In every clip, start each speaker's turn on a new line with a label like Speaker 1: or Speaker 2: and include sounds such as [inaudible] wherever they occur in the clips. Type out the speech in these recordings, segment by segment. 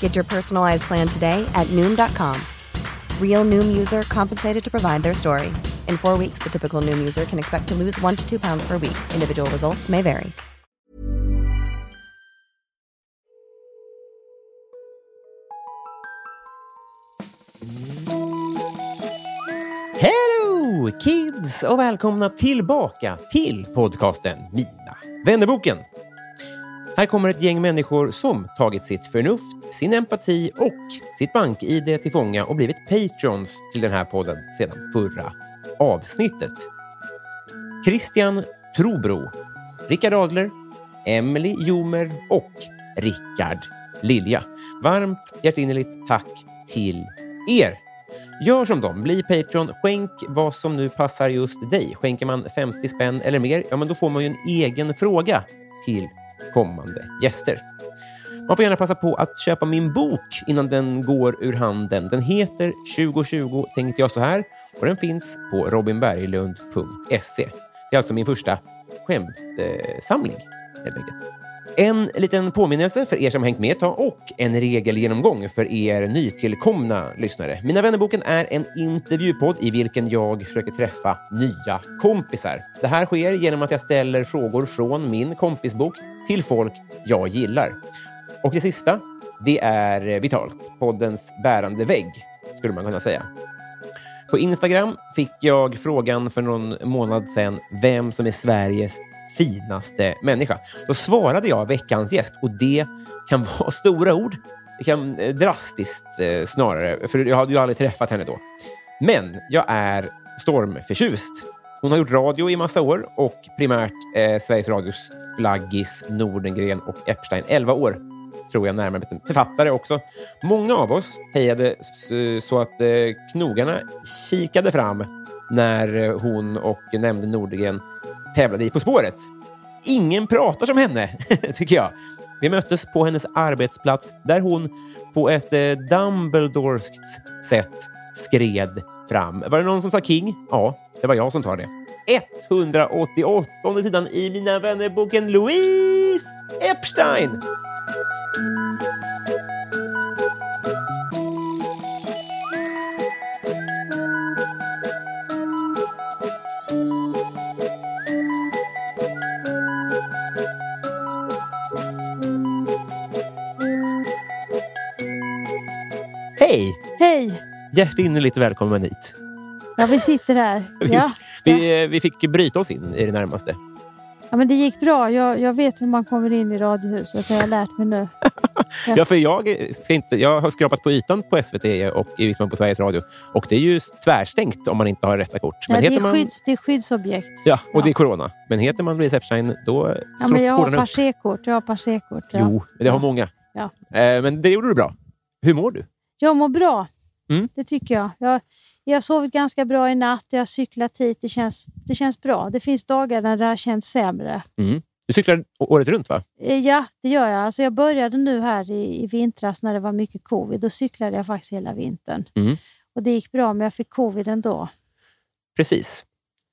Speaker 1: Get your personalized plan today at Noom.com. Real Noom user compensated to provide their story. In four weeks, the typical Noom user can expect to lose one to two pounds per week. Individual results may vary.
Speaker 2: Hello kids och välkomna tillbaka till podcasten Mina vännerboken. Här kommer ett gäng människor som tagit sitt förnuft, sin empati och sitt bank-id till fånga och blivit patrons till den här podden sedan förra avsnittet. Christian Trobro, Rickard Adler, Emily Jomer och Rickard Lilja. Varmt hjärtinnerligt tack till er Gör som dem, bli Patreon, skänk vad som nu passar just dig. Skänker man 50 spänn eller mer, ja men då får man ju en egen fråga till kommande gäster. Man får gärna passa på att köpa min bok innan den går ur handen. Den heter 2020 tänkte jag så här och den finns på robinberglund.se. Det är alltså min första skämtsamling, helt enkelt. En liten påminnelse för er som hängt med ett tag och en regelgenomgång för er nytillkomna lyssnare. Mina vännerboken är en intervjupodd i vilken jag försöker träffa nya kompisar. Det här sker genom att jag ställer frågor från min kompisbok till folk jag gillar. Och det sista, det är eh, Vitalt, poddens bärande vägg, skulle man kunna säga. På Instagram fick jag frågan för någon månad sedan vem som är Sveriges finaste människa. Då svarade jag veckans gäst och det kan [laughs] vara stora ord. Det kan eh, drastiskt eh, snarare, för jag hade ju aldrig träffat henne då. Men jag är stormförtjust. Hon har gjort radio i massa år och primärt eh, Sveriges Radios flaggis Nordengren och Epstein, 11 år tror jag närmare bestämt. Författare också. Många av oss hejade s- så att eh, knogarna kikade fram när eh, hon och nämnde Nordgren tävlade i På spåret. Ingen pratar som henne, [laughs] tycker jag. Vi möttes på hennes arbetsplats där hon på ett eh, Dumbledoreskt sätt skred fram. Var det någon som sa King? Ja, det var jag som tar det. 188 sidan i Mina vännerboken Louise Epstein. Hej!
Speaker 3: Hej!
Speaker 2: Hjärtinnerligt välkommen hit.
Speaker 3: Ja, vi
Speaker 2: [laughs]
Speaker 3: sitter här.
Speaker 2: Vi-
Speaker 3: Ja,
Speaker 2: Vi, eh, vi fick bryta oss in i det närmaste.
Speaker 3: ja men det gick bra. Jag, jag vet hur man kommer in i Radiohuset. Det har jag lärt mig nu. Ja.
Speaker 2: Ja, för jag, eh, ska inte, jag har skrapat på ytan på SVT och i viss mån på Sveriges Radio. Och det är ju tvärstängt om man inte har rätta kort.
Speaker 3: Ja, det, är
Speaker 2: man,
Speaker 3: skydds, det är skyddsobjekt.
Speaker 2: ja, och
Speaker 3: Ja.
Speaker 2: det är corona. Men heter man Louise Epstein, då
Speaker 3: Ja,
Speaker 2: slås
Speaker 3: men jag har
Speaker 2: korten upp.
Speaker 3: passerkort. Jag har passerkort. Ja.
Speaker 2: Jo, det har många.
Speaker 3: Ja.
Speaker 2: Eh, Men det gjorde du bra. Hur mår du?
Speaker 3: Jag mår bra.
Speaker 2: Mm.
Speaker 3: Det tycker jag. jag. Jag har sovit ganska bra i natt. Jag har cyklat hit. Det känns, det känns bra. Det finns dagar när det har känts sämre.
Speaker 2: Du cyklar å- året runt, va?
Speaker 3: Eh, Ja, det gör jag. Alltså jag började nu här i, i vintras när det var mycket covid. Då cyklade jag faktiskt hela vintern.
Speaker 2: Mm.
Speaker 3: Och Det gick bra, men jag fick covid ändå.
Speaker 2: Precis.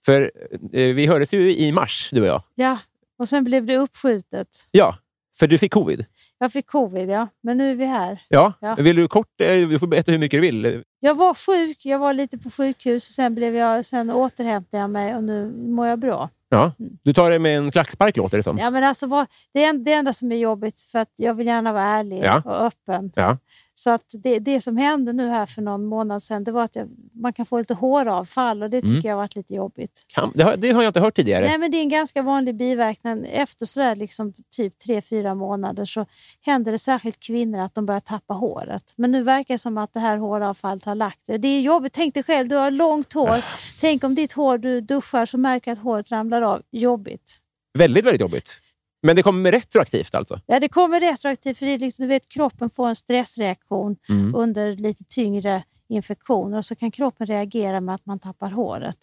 Speaker 2: För eh, vi hördes ju i mars, du och jag.
Speaker 3: Ja, och sen blev det uppskjutet.
Speaker 2: Ja, för du fick covid.
Speaker 3: Jag fick covid, ja. Men nu är vi här.
Speaker 2: Ja.
Speaker 3: Ja.
Speaker 2: Vill du kort... eh, Du får berätta hur mycket du vill.
Speaker 3: Jag var sjuk, jag var lite på sjukhus och sen, blev jag, sen återhämtade jag mig och nu mår jag bra.
Speaker 2: Ja.
Speaker 3: Mm.
Speaker 2: Du tar det med en klackspark, låter det som.
Speaker 3: Ja, men alltså, vad, det, är en- det enda som är jobbigt, för att jag vill gärna vara ärlig
Speaker 2: Ja.
Speaker 3: och öppen.
Speaker 2: Ja.
Speaker 3: Så att det, det som hände nu här för någon månad sedan, det var att jag, man kan få lite håravfall och det tycker
Speaker 2: Mm.
Speaker 3: jag har varit lite jobbigt.
Speaker 2: Kan, det, har, det har jag inte hört tidigare.
Speaker 3: Nej, men det är en ganska vanlig biverkan. Efter sådär liksom typ 3-4 månader så händer det särskilt kvinnor att de börjar tappa håret. Men nu verkar det som att det här håravfallet har lagt det. Det är jobbigt. Tänk dig själv, du har långt hår. Tänk om ditt hår, du duschar så märker att håret ramlar av. Jobbigt.
Speaker 2: Väldigt, väldigt jobbigt. Men det kommer retroaktivt alltså?
Speaker 3: Ja, det kommer retroaktivt för det är liksom, du vet, kroppen får en stressreaktion
Speaker 2: Mm.
Speaker 3: under lite tyngre infektioner och så kan kroppen reagera med att man tappar håret.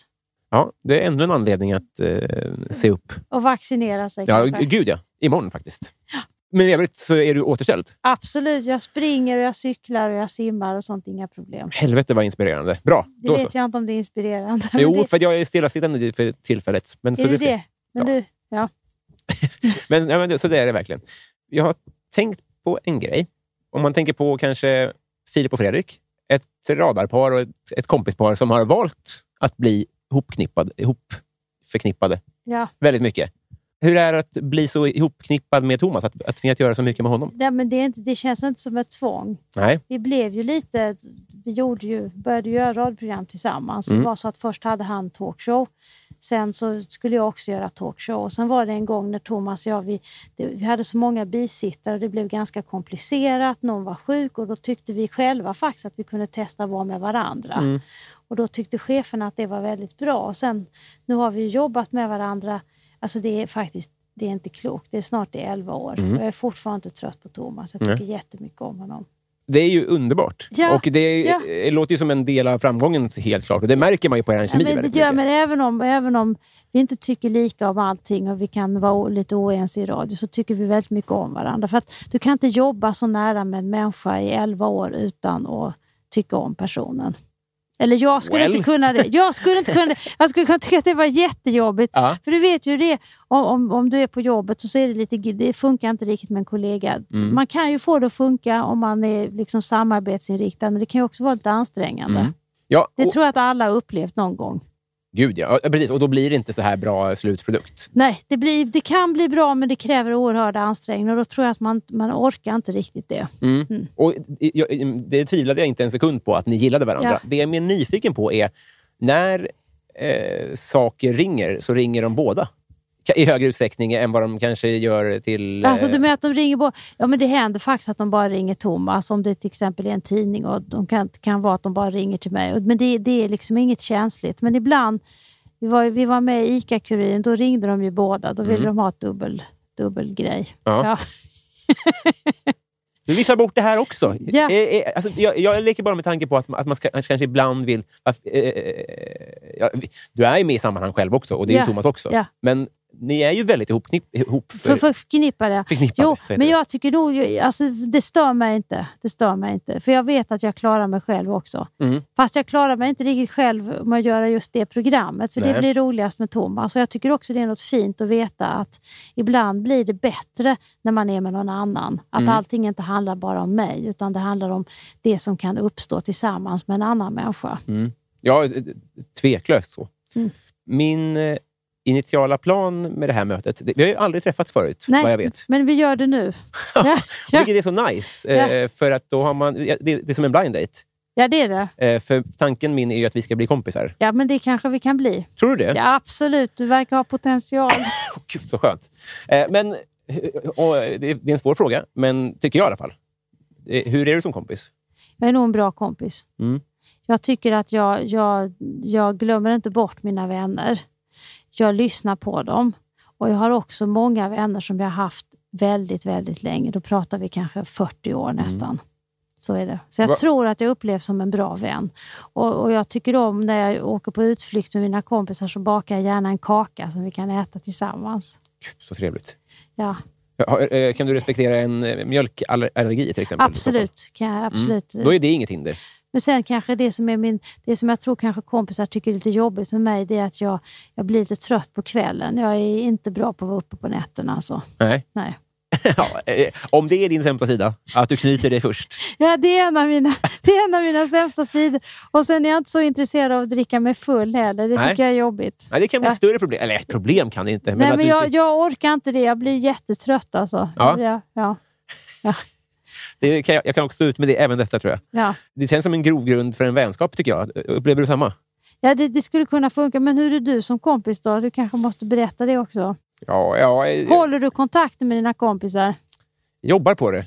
Speaker 2: Ja, det är ännu en anledning att eh, se upp.
Speaker 3: Och vaccinera sig.
Speaker 2: Ja,
Speaker 3: kanske.
Speaker 2: gud ja. Imorgon faktiskt. Men i övrigt så är du återställd.
Speaker 3: Absolut, jag springer och jag cyklar och jag simmar och sånt. Inga problem.
Speaker 2: Helvete vad inspirerande. Bra,
Speaker 3: Det
Speaker 2: då så.
Speaker 3: vet jag inte om det är inspirerande. men
Speaker 2: Jo,
Speaker 3: det,
Speaker 2: för att jag är stillasittande för tillfället. Men, så,
Speaker 3: är det
Speaker 2: det ska,
Speaker 3: det? Men
Speaker 2: Ja.
Speaker 3: du, ja.
Speaker 2: men, ja, men det- så det är det verkligen. Jag har tänkt på en grej. Om man tänker på kanske Filip och Fredrik, ett radarpar och ett, ett kompispar som har valt att bli ihopknippad, ihopförknippade
Speaker 3: ja.
Speaker 2: väldigt mycket. Hur är det att bli så ihopknippad med Thomas? Att, att tvingas göra så mycket med honom?
Speaker 3: Nej, men det, är inte, det känns inte som ett tvång.
Speaker 2: Nej.
Speaker 3: Vi blev ju lite... Vi gjorde ju, började ju göra radioprogram tillsammans.
Speaker 2: Mm.
Speaker 3: Det var så att först hade han talkshow. Sen så skulle jag också göra talkshow. Och sen var det en gång när Thomas och jag vi, det, vi hade så många bisittare och det blev ganska komplicerat. Någon var sjuk och då tyckte vi själva faktiskt att vi kunde testa att vara med varandra.
Speaker 2: Mm.
Speaker 3: Och då tyckte chefen att det var väldigt bra. Och sen, nu har vi ju jobbat med varandra. Alltså det är faktiskt det är inte klokt. Det är snart det är 11 år. Och jag är fortfarande inte trött på Thomas. Jag tycker
Speaker 2: Mm. Nej.
Speaker 3: jättemycket om honom.
Speaker 2: Det är ju underbart.
Speaker 3: Ja,
Speaker 2: och det
Speaker 3: ja.
Speaker 2: eh, låter ju som en del av framgången helt klart. Och det märker man ju på er
Speaker 3: Ja,
Speaker 2: kemi
Speaker 3: men
Speaker 2: väldigt
Speaker 3: det gör
Speaker 2: mycket.
Speaker 3: men även om, även om vi inte tycker lika om allting och vi kan vara o- lite oense i radio så tycker vi väldigt mycket om varandra. För att du kan inte jobba så nära med en människa i 11 år utan att tycka om personen. Eller jag skulle
Speaker 2: Well.
Speaker 3: inte kunna det. Jag skulle, inte kunna, jag skulle kunna tycka att det var jättejobbigt.
Speaker 2: Ja.
Speaker 3: För du vet ju det, om, om, om du är på jobbet så är det lite, det funkar inte riktigt med en kollega.
Speaker 2: Mm.
Speaker 3: Man kan ju få det att funka om man är liksom samarbetsinriktad, men det kan ju också vara lite ansträngande.
Speaker 2: Mm. Ja,
Speaker 3: Det
Speaker 2: och-
Speaker 3: tror jag att alla har upplevt någon gång.
Speaker 2: Gud, ja. ja. Precis. Och då blir det inte så här bra slutprodukt.
Speaker 3: Nej, det, blir, det kan bli bra, men det kräver oerhörda ansträngningar. och Då tror jag att man, man orkar inte riktigt det.
Speaker 2: Mm.
Speaker 3: Mm.
Speaker 2: Och i- jag, det tvivlade jag inte en sekund på, att ni gillade varandra.
Speaker 3: Ja.
Speaker 2: Det jag är mer nyfiken på är, när eh, saker ringer, så ringer de båda. Ka- I högre utsträckning än vad de kanske gör till... eh,
Speaker 3: Alltså, du menar att de ringer på... Ja, men det händer faktiskt att de bara ringer Thomas, om det till exempel är en tidning. och De kan, kan vara att de bara ringer till mig. Och- Men det, det är liksom inget känsligt. Men ibland, vi var, vi var med i ICA-Kuriren, då ringde de ju båda. Då ville de ha ett dubbel, dubbel grej.
Speaker 2: Ja.
Speaker 3: Ja.
Speaker 2: Du viftar bort det här också.
Speaker 3: Ja.
Speaker 2: Eh, eh, alltså, jag, jag leker bara med tanke på att, att man ska, kanske ibland vill... Att, eh, eh, ja, vi- du är ju med i sammanhang själv också, och det är
Speaker 3: Ja.
Speaker 2: ju Thomas också.
Speaker 3: Ja.
Speaker 2: Men ni är ju väldigt ihopknipp, ihop,
Speaker 3: För, för förknippade.
Speaker 2: förknippade.
Speaker 3: Jo,
Speaker 2: så heter
Speaker 3: men
Speaker 2: det.
Speaker 3: jag tycker nog... ju- Alltså, det stör mig inte. Det stör mig inte. För jag vet att jag klarar mig själv också.
Speaker 2: Mm.
Speaker 3: Fast jag klarar mig inte riktigt själv med att göra just det programmet. För
Speaker 2: Nej.
Speaker 3: det blir roligast med Thomas. Och jag tycker också det är något fint att veta att ibland blir det bättre när man är med någon annan. Att
Speaker 2: Mm.
Speaker 3: allting inte handlar bara om mig, utan det handlar om det som kan uppstå tillsammans med en annan människa.
Speaker 2: Ja, eh, tveklöst så.
Speaker 3: Mm.
Speaker 2: Min eh, initiala plan med det här mötet... Det, vi har ju aldrig träffats förut, vad jag vet.
Speaker 3: men vi gör
Speaker 2: [laughs]
Speaker 3: det nu. ja, ja,
Speaker 2: Vilket är så nice, eh, för att då har man... ja, Det, det är som en blind date.
Speaker 3: ja, det är det.
Speaker 2: Eh, för tanken min är ju att vi ska bli kompisar.
Speaker 3: Ja, men det kanske vi kan bli.
Speaker 2: Tror du det?
Speaker 3: Ja, absolut, du verkar ha potential.
Speaker 2: Åh, Gud, så skönt. Eh, men, och, eh, det är det är en svår fråga, men tycker jag i alla fall. Eh, Hur är du som kompis?
Speaker 3: Jag är nog en bra kompis.
Speaker 2: Mm.
Speaker 3: Jag tycker att jag, jag, jag glömmer inte bort mina vänner. Jag lyssnar på dem. Och Jag har också många vänner som jag har haft väldigt, väldigt länge. Då pratar vi kanske 40 år nästan. Så är det. Så jag
Speaker 2: Mm. Va-
Speaker 3: tror att jag upplevs som en bra vän. Och, och Jag tycker om när jag åker på utflykt med mina kompisar så bakar jag gärna en kaka som vi kan äta tillsammans.
Speaker 2: Gud, så trevligt.
Speaker 3: Ja,
Speaker 2: Har- eh, Kan du respektera en eh, mjölkallergi till exempel? Mm.
Speaker 3: absolut. Kan jag absolut
Speaker 2: Då är det inget hinder.
Speaker 3: Men sen kanske det som, är min, det som jag tror kanske kompisar tycker är lite jobbigt med mig, det är att jag, jag blir lite trött på kvällen. Jag är inte bra på att vara uppe på nätterna. Alltså.
Speaker 2: Nej.
Speaker 3: Nej.
Speaker 2: Ja, eh, om det är din sämsta sida, att du knyter dig först.
Speaker 3: Ja, det, är en av mina, [laughs] det är en av mina sämsta sidor. Och sen är jag inte så intresserad av att dricka mig full heller. Det
Speaker 2: Nej.
Speaker 3: tycker jag är jobbigt.
Speaker 2: Nej, det kan bli ett
Speaker 3: Ja.
Speaker 2: större problem. Eller ett problem kan det inte. Men
Speaker 3: Nej,
Speaker 2: att
Speaker 3: men
Speaker 2: du-
Speaker 3: jag, jag orkar inte det. Jag blir jättetrött alltså.
Speaker 2: Ja.
Speaker 3: Jag, ja, ja.
Speaker 2: Det kan jag, jag kan också stå ut med det även detta, tror jag.
Speaker 3: Ja.
Speaker 2: Det känns som en grogrund för en vänskap, tycker jag. Upplever du samma?
Speaker 3: Ja, det, det skulle kunna funka. Men hur är du som kompis då? Du kanske måste berätta det också.
Speaker 2: Ja, ja jag,
Speaker 3: Håller du kontakten med dina kompisar?
Speaker 2: jobbar på det.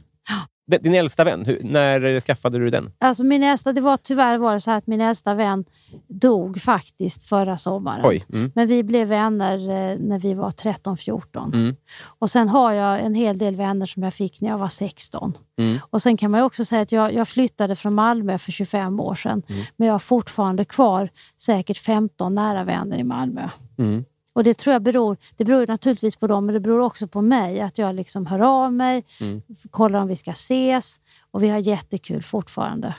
Speaker 2: D- Din äldsta vän, hur, när skaffade du den?
Speaker 3: Alltså min äldsta, det var tyvärr var det så här att min äldsta vän dog faktiskt förra sommaren.
Speaker 2: Oj. Mm.
Speaker 3: Men vi blev vänner eh, när vi var 13-14.
Speaker 2: Mm.
Speaker 3: Och sen har jag en hel del vänner som jag fick när jag var 16.
Speaker 2: Mm.
Speaker 3: Och sen kan man ju också säga att jag, jag flyttade från Malmö för 25 år sedan.
Speaker 2: Mm.
Speaker 3: Men jag har fortfarande kvar säkert 15 nära vänner i Malmö.
Speaker 2: Mm.
Speaker 3: Och det tror jag beror, det beror ju naturligtvis på dem, men det beror också på mig. Att jag liksom hör av mig,
Speaker 2: Mm.
Speaker 3: f- kollar om vi ska ses och vi har jättekul fortfarande.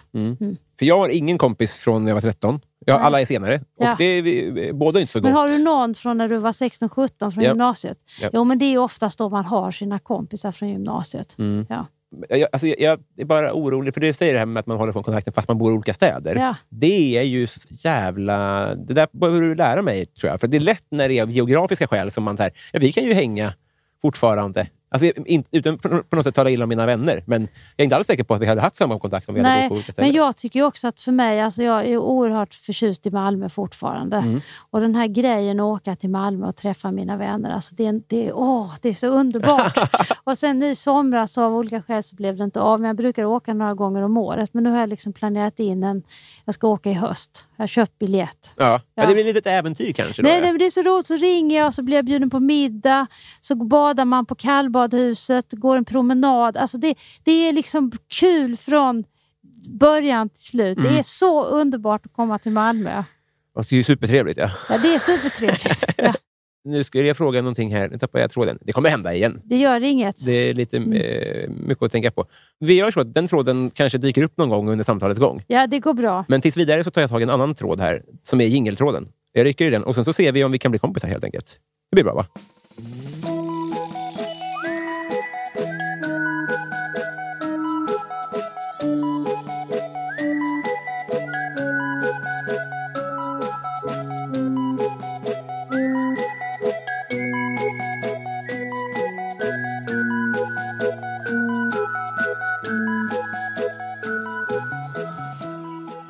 Speaker 2: För jag har ingen kompis från när jag var 13. Jag,
Speaker 3: Nej.
Speaker 2: alla är senare.
Speaker 3: Ja.
Speaker 2: Och det är vi, båda är inte så gott.
Speaker 3: Men har du någon från när du var 16-17 från
Speaker 2: Ja.
Speaker 3: gymnasiet?
Speaker 2: Ja.
Speaker 3: Jo, men det är ju oftast då man har sina kompisar från gymnasiet.
Speaker 2: Mm.
Speaker 3: Ja.
Speaker 2: jag, alltså, jag, jag är bara orolig, för du säger det här med att man håller från kontakten fast man bor i olika städer.
Speaker 3: Ja.
Speaker 2: Det är ju så jävla... Det där behöver du lära mig, tror jag. För det är lätt när det är av geografiska skäl som man säger, ja, vi kan ju hänga fortfarande. Alltså, in, utan på på något sätt tala illa om mina vänner, men jag är inte alls säker på att vi hade haft samma kontakt om vi hade bott på olika ställen.
Speaker 3: men jag tycker ju också att för mig, alltså jag är oerhört förtjust i Malmö fortfarande.
Speaker 2: Mm.
Speaker 3: Och den här grejen att åka till Malmö och träffa mina vänner, alltså det, är, en- det, är, åh, det är
Speaker 2: [laughs]
Speaker 3: så underbart. och sen nu i somras så av olika skäl så blev det inte av, men jag brukar åka några gånger om året. Men nu har jag liksom planerat in en, jag ska åka i höst. Jag har köpt biljett.
Speaker 2: Ja. Ja.
Speaker 3: Ja.
Speaker 2: det blir lite ett äventyr kanske. Då,
Speaker 3: Nej,
Speaker 2: ja.
Speaker 3: nej, men det är så roligt. Så ringer jag och så blir jag bjuden på middag. Så badar man på kallbadhuset, går en promenad. Alltså det, det är liksom kul från början till slut. Det
Speaker 2: Mm.
Speaker 3: är så underbart att komma till Malmö.
Speaker 2: Och det är ju supertrevligt. Ja.
Speaker 3: Ja, det
Speaker 2: [laughs]
Speaker 3: är supertrevligt. ja,
Speaker 2: Nu skulle jag fråga någonting här. Nu tappade jag tråden. Det kommer hända igen.
Speaker 3: det gör inget.
Speaker 2: Det är lite
Speaker 3: Mm.
Speaker 2: eh, mycket att tänka på. Vi gör så att den tråden kanske dyker upp någon gång under samtalets gång.
Speaker 3: Ja, det går bra.
Speaker 2: Men tills vidare så tar jag tag i en annan tråd här, som är jingeltråden. Jag rycker i den och sen så ser vi om vi kan bli kompisar helt enkelt. Det blir bra va?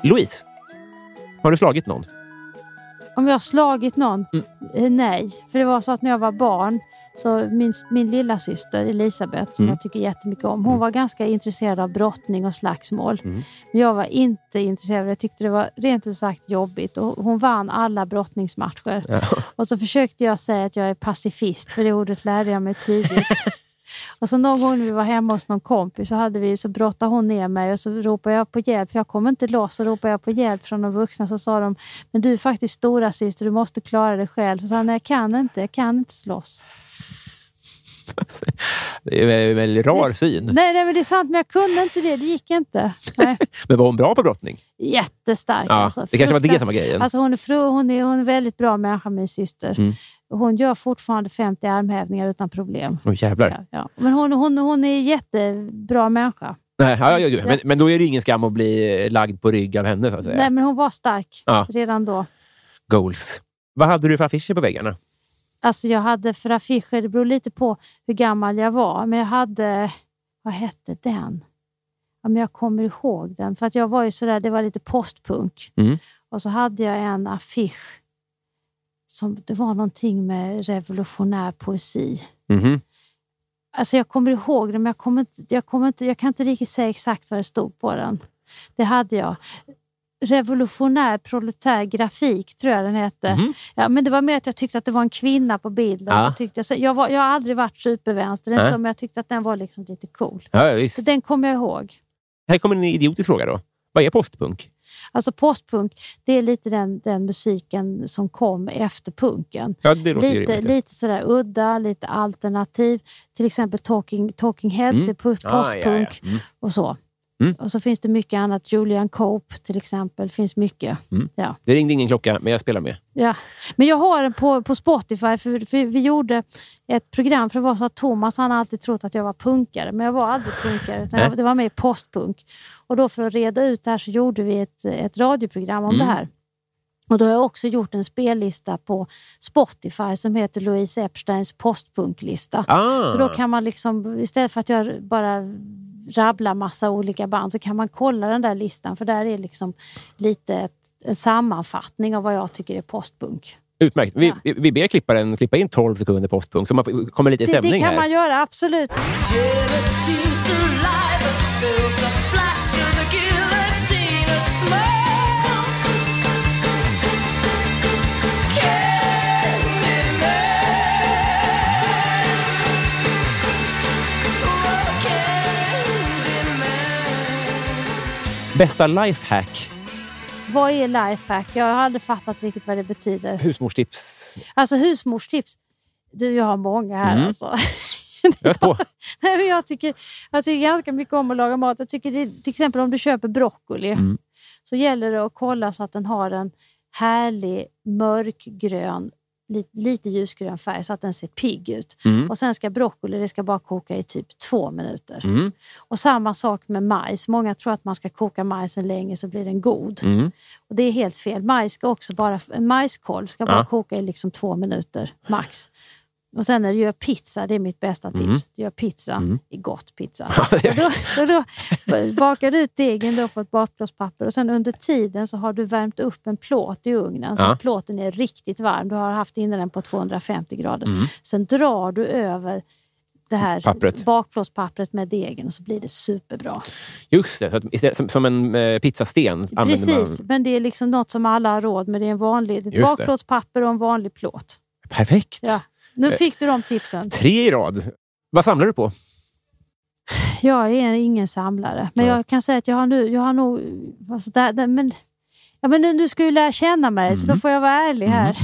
Speaker 2: Louise, har du slagit någon?
Speaker 3: Om jag har slagit någon? Eh, Nej. För det var så att när jag var barn, så min, min lilla syster Elisabeth, som jag tycker jättemycket om, hon var ganska intresserad av brottning och slagsmål. Men jag var inte intresserad. Jag tyckte det var rent ut sagt jobbigt. Och hon vann alla brottningsmatcher. Och så försökte jag säga att jag är pacifist, för det ordet lärde jag mig tidigt. Och så Alltså, någon gång när vi var hemma hos någon kompis så, hade vi, så brottade hon ner mig och så ropade jag på hjälp. För jag kom inte loss. Så ropade jag på hjälp från de vuxna. Så sa de, men du är faktiskt stora syster, du måste klara dig själv. Så sa jag, nej jag kan inte, jag kan inte slåss.
Speaker 2: Det är en väldigt rar
Speaker 3: Det-
Speaker 2: syn.
Speaker 3: Nej, nej men det är sant, men jag kunde inte det. Det gick inte.
Speaker 2: [laughs]
Speaker 3: Nej.
Speaker 2: Men var hon bra på brottning?
Speaker 3: Jättestark
Speaker 2: Ja,
Speaker 3: alltså.
Speaker 2: det kanske var det
Speaker 3: Fruktan-
Speaker 2: som var grejen.
Speaker 3: Alltså hon är, fru, hon är, hon är en väldigt bra människa, min syster.
Speaker 2: Mm.
Speaker 3: Hon gör fortfarande 50 armhävningar utan problem.
Speaker 2: Åh jävlar.
Speaker 3: Ja, ja. Men hon, hon, hon är en jättebra människa.
Speaker 2: Nej, ja, ja, ja. Men, men då är det ingen skam att bli eh, lagd på rygg av henne, så att säga.
Speaker 3: Nej, men hon var stark
Speaker 2: Ja.
Speaker 3: redan då.
Speaker 2: Goals. Vad hade du för affischer på väggarna?
Speaker 3: Alltså jag hade för affischer, det beror lite på hur gammal jag var, men jag hade... Vad hette den? Ja, men jag kommer ihåg den, för att jag var ju sådär, det var lite postpunk.
Speaker 2: Mm.
Speaker 3: Och så hade jag en affisch som det var någonting med revolutionär poesi.
Speaker 2: Mhm.
Speaker 3: Alltså jag kommer ihåg det, men jag, kommer inte, jag, kommer inte, jag kan inte riktigt säga exakt vad det stod på den. Det hade jag. Revolutionär proletär grafik, tror jag den hette. Ja, men det var mer att jag tyckte att det var en kvinna på bilden.
Speaker 2: Mhm. Ja.
Speaker 3: Så tyckte jag, så jag, var, jag har aldrig varit supervänster, inte
Speaker 2: Nej.
Speaker 3: så, men jag tyckte att den var liksom lite cool.
Speaker 2: Ja, ja, visst.
Speaker 3: Så den kommer jag ihåg.
Speaker 2: Här kommer en idiotisk fråga då. Vad är postpunk?
Speaker 3: Alltså postpunk, det är lite den, den musiken som kom efter punken.
Speaker 2: Ja, det låter ju
Speaker 3: Lite,
Speaker 2: rimligt.
Speaker 3: lite sådär udda, lite alternativ. Till exempel Talking, talking Heads
Speaker 2: Mm.
Speaker 3: är po-
Speaker 2: Ah, ja,
Speaker 3: postpunk
Speaker 2: ja. Mm.
Speaker 3: och så.
Speaker 2: Mm.
Speaker 3: Och så finns det mycket annat. Julian Cope till exempel. finns mycket.
Speaker 2: Mm.
Speaker 3: Ja.
Speaker 2: Det ringde ingen klocka, men jag spelar med.
Speaker 3: Ja. Men jag har den på, på Spotify, för, för vi gjorde ett program. För det var så att Thomas han har alltid trott att jag var punkare, men jag var aldrig punkare. Utan jag, det var mer postpunk. Och då för att reda ut det här så gjorde vi ett, ett radioprogram om det här. Och då har jag också gjort en spellista på Spotify som heter Louise Epsteins postpunklista.
Speaker 2: Ah.
Speaker 3: Så då kan man liksom, istället för att jag bara rabblar massa olika band så kan man kolla den där listan för där är liksom lite ett, en sammanfattning av vad jag tycker är postpunk.
Speaker 2: Utmärkt. Vi,
Speaker 3: Ja.
Speaker 2: vi- vi ber klipparen klippa in 12 sekunder postpunkt så man får- kommer lite i
Speaker 3: Det, det
Speaker 2: stämning
Speaker 3: kan man
Speaker 2: här.
Speaker 3: göra, absolut.
Speaker 2: Bästa lifehack?
Speaker 3: Vad är lifehack? Jag har aldrig fattat riktigt vad det betyder.
Speaker 2: Husmorstips?
Speaker 3: Alltså husmorstips. Du, jag har många här
Speaker 2: Mm.
Speaker 3: alltså. [laughs]
Speaker 2: Ös på.
Speaker 3: Nej, men jag, tycker, jag tycker ganska mycket om att laga mat. Jag tycker det, till exempel om du köper broccoli
Speaker 2: Mm.
Speaker 3: så gäller det att kolla så att den har en härlig mörkgrön, li, lite ljusgrön färg så att den ser pigg ut.
Speaker 2: Mm.
Speaker 3: Och sen ska broccoli det ska bara koka i typ två minuter.
Speaker 2: Mm.
Speaker 3: Och samma sak med majs. Många tror att man ska koka majsen länge så blir den god.
Speaker 2: Mm.
Speaker 3: Och det är helt fel. Majs ska också bara, en majskolv ska bara
Speaker 2: Ja.
Speaker 3: koka i liksom två minuter max. Och sen när du gör pizza, det är mitt bästa
Speaker 2: Mm.
Speaker 3: tips. Du gör pizza, i
Speaker 2: [laughs]
Speaker 3: gott pizza. och då, och då bakar du ut degen då på ett bakplåtspapper och sen under tiden så har du värmt upp en plåt i ugnen så
Speaker 2: Ja.
Speaker 3: att plåten är riktigt varm. Du har haft inne den på 250 grader. Sen drar du över det här
Speaker 2: Mm. Pappret.
Speaker 3: bakplåtspappret med degen och så blir det superbra.
Speaker 2: Just det, så att istället, som, som en eh, pizzasten använder
Speaker 3: Precis,
Speaker 2: man...
Speaker 3: men det är liksom något som alla har råd med. Det är en vanlig, det är
Speaker 2: Just det.
Speaker 3: ett bakplåtspapper och en vanlig plåt.
Speaker 2: Perfekt!
Speaker 3: Ja.
Speaker 2: Eh.
Speaker 3: Nu fick du de tipsen.
Speaker 2: Tre i rad. Vad samlar du på?
Speaker 3: Jag är ingen samlare, men
Speaker 2: Nej.
Speaker 3: jag kan säga att jag har nu, jag har nog... Alltså där, där, men, ja, men nu, nu ska du lära känna mig, så då får jag vara ärlig här.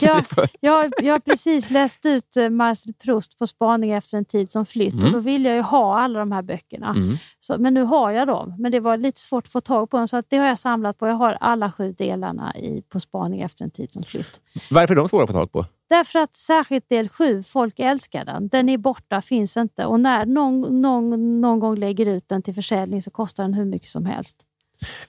Speaker 3: Jag, jag, har- jag har precis läst ut eh, Marcel Proust på spaning efter en tid som flytt och då ville jag ju ha alla de här böckerna. Så, men nu har jag dem, men det var lite svårt att få tag på dem, så att det har jag samlat på. Jag har alla sju delarna i, på spaning efter en tid som flytt.
Speaker 2: Varför är de svåra att få tag på?
Speaker 3: Därför att särskilt del 7, folk älskar den. Den är borta, finns inte. Och när någon, någon, någon gång lägger ut den till försäljning så kostar den hur mycket som helst.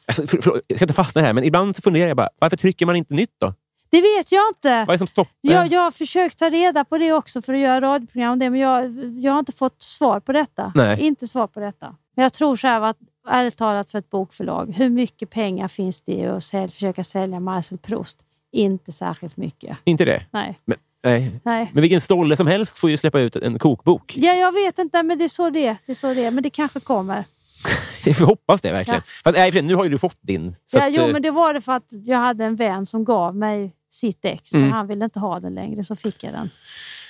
Speaker 2: Alltså, för, förlåt, jag ska inte fastna här, men ibland så funderar jag bara, varför trycker man inte nytt då?
Speaker 3: Det vet jag inte!
Speaker 2: Vad är det som stoppar?
Speaker 3: Jag, jag har försökt ta reda på det också för att göra radioprogram om det, men jag, jag har inte fått svar på detta.
Speaker 2: Nej.
Speaker 3: Inte svar på detta. Men jag tror så här att, ärligt talat för ett bokförlag, hur mycket pengar finns det i att sälj, försöka sälja Marcel Proust? Inte särskilt mycket.
Speaker 2: Inte det?
Speaker 3: Nej.
Speaker 2: Men, nej.
Speaker 3: Nej.
Speaker 2: men vilken stolle som helst får ju släppa ut en kokbok.
Speaker 3: Ja, jag vet inte, men det är så det är. Det är, så det är. Men det kanske kommer.
Speaker 2: [laughs] Vi får hoppas det verkligen. För att, nej, för nu har ju du fått din. Så
Speaker 3: ja,
Speaker 2: att,
Speaker 3: jo,
Speaker 2: eh,
Speaker 3: men det var det för att jag hade en vän som gav mig sitt ex.
Speaker 2: Mm.
Speaker 3: men Han ville inte ha den längre, så fick jag den.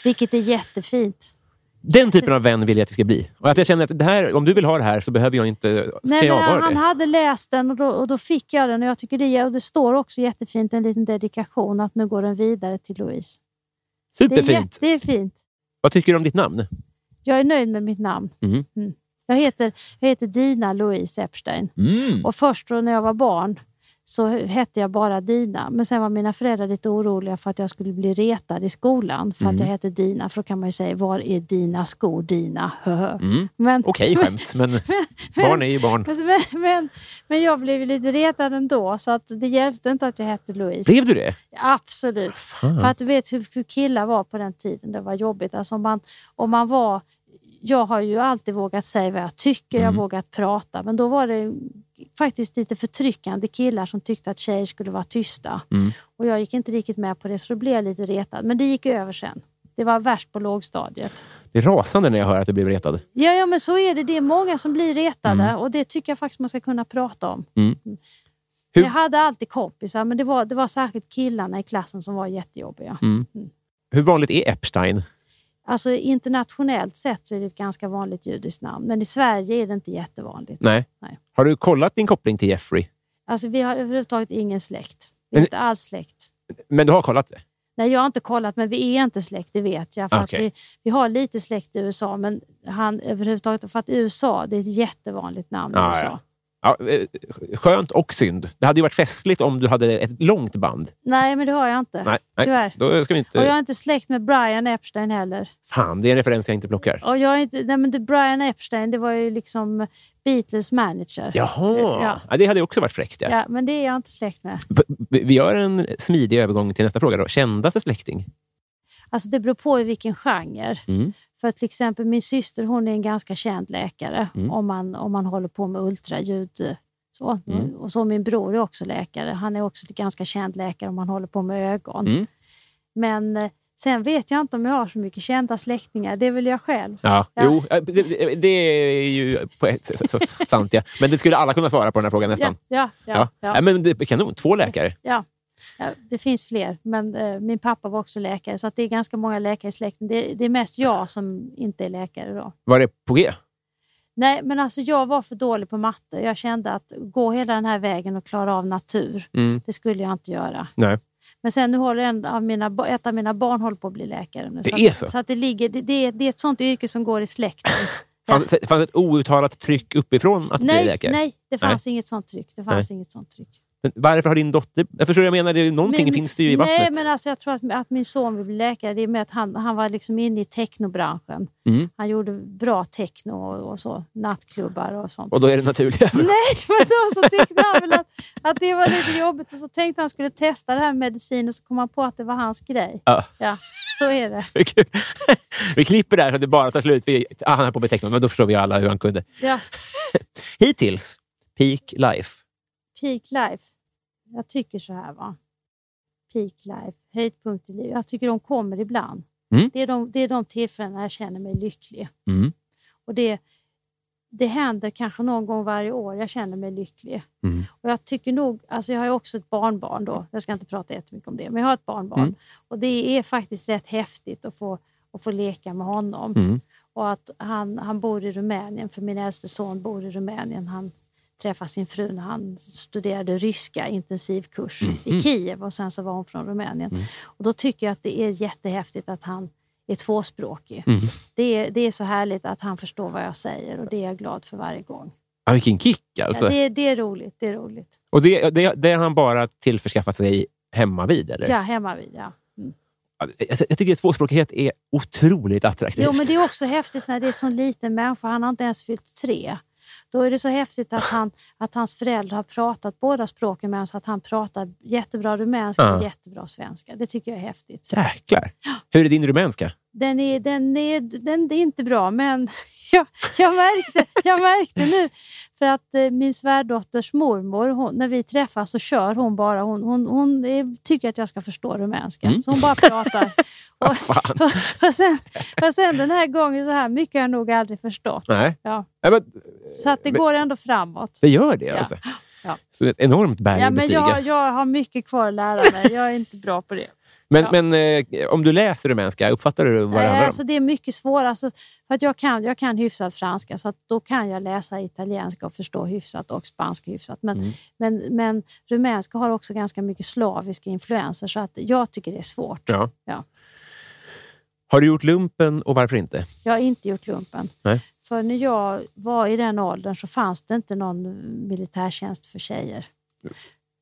Speaker 3: Vilket är jättefint.
Speaker 2: Den typen av vän vill jag att vi ska bli. Och att jag känner att det här, om du vill ha det här så behöver jag inte... så
Speaker 3: Nej,
Speaker 2: kan jag
Speaker 3: men
Speaker 2: vara
Speaker 3: han, han
Speaker 2: det.
Speaker 3: hade läst den och då, och då fick jag den. Och jag tycker det, och det står också jättefint en liten dedikation att nu går den vidare till Louise. Det är,
Speaker 2: Superfint.
Speaker 3: jätte, det är fint.
Speaker 2: Vad tycker du om ditt namn?
Speaker 3: Jag är nöjd med mitt namn.
Speaker 2: Mm.
Speaker 3: Jag, heter, jag heter Dina Louise Epstein.
Speaker 2: Mm.
Speaker 3: Och först då när jag var barn så hette jag bara Dina. Men sen var mina föräldrar lite oroliga för att jag skulle bli retad i skolan för
Speaker 2: Mm.
Speaker 3: att jag hette Dina. För då kan man ju säga, var är dina skor Dina? Höhö. Men,
Speaker 2: Mm. Okej skämt, men
Speaker 3: [laughs]
Speaker 2: barn är ju barn.
Speaker 3: men, men, men, men jag blev ju lite retad ändå, så att det hjälpte inte att jag hette Louise.
Speaker 2: Blev du det?
Speaker 3: Absolut. För att du vet hur, hur killar var på den tiden. Det var jobbigt. Alltså om, man, om man var... Jag har ju alltid vågat säga vad jag tycker, jag har vågat prata. Men då var det faktiskt lite förtryckande killar som tyckte att tjejer skulle vara tysta. Och jag gick inte riktigt med på det, så då blev jag lite retad. Men det gick över sen. Det var värst på lågstadiet.
Speaker 2: Det är rasande när jag hör att du blev retad.
Speaker 3: Ja, ja men så är det. Det är många som blir retade och det tycker jag faktiskt man ska kunna prata om. Mm.
Speaker 2: Hur-
Speaker 3: Jag hade alltid kompisar, men det var, det var särskilt killarna i klassen som var jättejobbiga.
Speaker 2: Hur vanligt är Epstein?
Speaker 3: Alltså internationellt sett så är det ett ganska vanligt judiskt namn, men i Sverige är det inte jättevanligt.
Speaker 2: Nej.
Speaker 3: Nej.
Speaker 2: Har du kollat din koppling till Jeffrey?
Speaker 3: Alltså vi har överhuvudtaget ingen släkt. Vi är
Speaker 2: Men-
Speaker 3: inte alls släkt.
Speaker 2: Men du har kollat det?
Speaker 3: Nej, jag har inte kollat, men vi är inte släkt, det vet jag. För
Speaker 2: Okej.
Speaker 3: att vi, vi har lite släkt i USA, men han överhuvudtaget... För att USA, det är ett jättevanligt namn i
Speaker 2: Ja,
Speaker 3: USA.
Speaker 2: Ah, ja. Ja, eh, skönt och synd. Det hade ju varit festligt om du hade ett långt band.
Speaker 3: Nej, men det har jag inte.
Speaker 2: Nej, nej.
Speaker 3: Tyvärr.
Speaker 2: Då ska vi inte...
Speaker 3: Och jag är inte släkt med Brian Epstein heller.
Speaker 2: Fan, det är en referens jag inte plockar.
Speaker 3: Och jag är inte... Nej, men det, Brian Epstein, det var ju liksom Beatles manager.
Speaker 2: Jaha, ja.
Speaker 3: Eh, Ja.
Speaker 2: det hade ju också varit fräckt. Ja.
Speaker 3: Ja, men det är jag inte släkt med.
Speaker 2: V- Vi gör en smidig övergång till nästa fråga. Då. Kändaste släkting?
Speaker 3: Alltså det beror på i vilken genre.
Speaker 2: Mm.
Speaker 3: För till exempel min syster hon är en ganska känd läkare
Speaker 2: Mm.
Speaker 3: om, man, om man håller på med ultraljud. eh, Så.
Speaker 2: Mm.
Speaker 3: Och så min bror är också läkare. Han är också en ganska känd läkare om man håller på med ögon.
Speaker 2: Mm.
Speaker 3: Men eh, sen vet jag inte om jag har så mycket kända släktingar. Det är väl jag själv.
Speaker 2: Ja,
Speaker 3: Ja.
Speaker 2: Jo, eh, det, det är ju på ett sätt så- [laughs] sant. Ja. Men det skulle alla kunna svara på den här frågan nästan.
Speaker 3: Ja, ja, ja, ja.
Speaker 2: Nej, men det, kanon, två läkare.
Speaker 3: Ja, det finns fler, men eh, min pappa var också läkare så att det är ganska många läkare i släkten. Det, det är mest jag som inte är läkare då.
Speaker 2: Var det på G?
Speaker 3: Nej, men alltså jag var för dålig på matte. Jag kände att gå hela den här vägen och klara av natur,
Speaker 2: Mm.
Speaker 3: det skulle jag inte göra.
Speaker 2: Nej.
Speaker 3: Men sen nu håller en av mina, ba- ett av mina barn håller på att bli läkare. Nu,
Speaker 2: Det
Speaker 3: att,
Speaker 2: är så?
Speaker 3: Så att det, ligger, det, det, är, det är ett sånt yrke som går i släkten.
Speaker 2: Fanns, fanns ett outtalat tryck uppifrån att bli
Speaker 3: nej,
Speaker 2: läkare?
Speaker 3: nej, det fanns inget sånt tryck. Det fanns inget sånt tryck.
Speaker 2: Men varför har din dotter... Jag förstår vad jag menar. Det är ju- Någonting
Speaker 3: Men-
Speaker 2: finns det ju i vattnet.
Speaker 3: Nej, men alltså jag tror att, att min son vill bli läkare. Det är med att han, han var liksom inne i technobranschen.
Speaker 2: Mm.
Speaker 3: Han gjorde bra techno och, och så, nattklubbar och sånt.
Speaker 2: Och då är det naturliga.
Speaker 3: Nej, [laughs] men då så tyckte han väl att, att det var lite jobbigt och så tänkte han skulle testa det här med medicin och så kom han på att det var hans grej.
Speaker 2: Ja.
Speaker 3: Ja, så är det.
Speaker 2: Kul. [laughs] vi klipper där så att det bara tar slut. Vi, ah, han är på beteckningen, men då förstår vi alla hur han kunde.
Speaker 3: Ja.
Speaker 2: Hittills, peak life.
Speaker 3: Peak life. Jag tycker så här va. Peak life, höjdpunkt i livet. Jag tycker de kommer ibland.
Speaker 2: Mm.
Speaker 3: Det, är de, det är de tillfällen när jag känner mig lycklig.
Speaker 2: Mm.
Speaker 3: Och det, det händer kanske någon gång varje år. Jag känner mig lycklig.
Speaker 2: Mm.
Speaker 3: Och jag tycker nog, alltså jag har ju också ett barnbarn då. Jag ska inte prata jättemycket om det, men jag har ett barnbarn.
Speaker 2: Mm.
Speaker 3: Och det är faktiskt rätt häftigt att få, att få leka med honom.
Speaker 2: Mm.
Speaker 3: Och att han, han bor i Rumänien, för min äldste son bor i Rumänien. Han träffade sin fru när han studerade ryska intensivkurs i Kiev och sen så var hon från Rumänien. Och då tycker jag att det är jättehäftigt att han är tvåspråkig. Det, är, det är så härligt att han förstår vad jag säger och det är jag glad för varje gång.
Speaker 2: Ah, vilken kick alltså.
Speaker 3: Ja, det, är- det är roligt. Det är roligt.
Speaker 2: Och det, det, det har han bara tillförskaffat sig hemma vid eller?
Speaker 3: Ja, hemma vid, ja.
Speaker 2: Alltså, jag tycker att tvåspråkighet är otroligt attraktivt.
Speaker 3: Jo, men det är också häftigt när det är så liten människa. Han har inte ens fyllt tre. Då är det så häftigt att, han, att hans föräldrar har pratat båda språken med honom så att han pratar jättebra rumänska
Speaker 2: Ja.
Speaker 3: och jättebra svenska. Det tycker jag är häftigt.
Speaker 2: Jäklar. Hur är din rumänska?
Speaker 3: Den är, den är, den är inte bra, men [laughs] jag, jag, märkte, jag märkte nu. För att eh, min svärdotters mormor, hon, när vi träffas så kör hon bara. Hon, hon, hon är, tycker att jag ska förstå rumänska, så hon
Speaker 2: [laughs]
Speaker 3: bara pratar. Och,
Speaker 2: Mm. Fan.
Speaker 3: och, och, sen, och sen den här gången, så här mycket har jag nog aldrig förstått.
Speaker 2: Nej.
Speaker 3: Ja,
Speaker 2: Ja, men,
Speaker 3: så att det går ändå framåt.
Speaker 2: det gör det
Speaker 3: Ja.
Speaker 2: alltså.
Speaker 3: Ja.
Speaker 2: Så ett enormt berg
Speaker 3: Ja,
Speaker 2: att
Speaker 3: men
Speaker 2: bestiga.
Speaker 3: jag, jag har mycket kvar att lära mig. Jag är inte bra på det.
Speaker 2: Men,
Speaker 3: ja.
Speaker 2: men eh, om du läser rumänska, uppfattar du vad det
Speaker 3: Nej,
Speaker 2: handlar om?
Speaker 3: alltså det är mycket svårare. Alltså, för att jag, kan, jag kan hyfsat franska, så att då kan jag läsa italienska och förstå hyfsat och spanska hyfsat. Men,
Speaker 2: Mm.
Speaker 3: men, men rumänska har också ganska mycket slaviska influenser, så att jag tycker det är svårt.
Speaker 2: Ja.
Speaker 3: Ja.
Speaker 2: Har du gjort lumpen och varför inte?
Speaker 3: Jag har inte gjort lumpen.
Speaker 2: Nej.
Speaker 3: För när jag var i den åldern så fanns det inte någon militärtjänst för tjejer.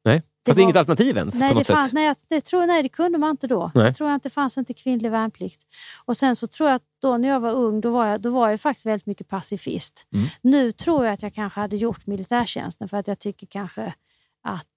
Speaker 2: Nej. Det,
Speaker 3: Det
Speaker 2: Fast det är
Speaker 3: var-
Speaker 2: inget alternativ ens
Speaker 3: Nej,
Speaker 2: på
Speaker 3: det
Speaker 2: något
Speaker 3: fanns,
Speaker 2: sätt.
Speaker 3: nej, jag- det tror, nej, det kunde man inte då.
Speaker 2: Nej.
Speaker 3: Jag tror inte det fanns inte kvinnlig värnplikt. Och sen så tror jag att då när jag var ung, då var jag, då var jag faktiskt väldigt mycket pacifist.
Speaker 2: Mm.
Speaker 3: Nu tror jag att jag kanske hade gjort militärtjänsten för att jag tycker kanske att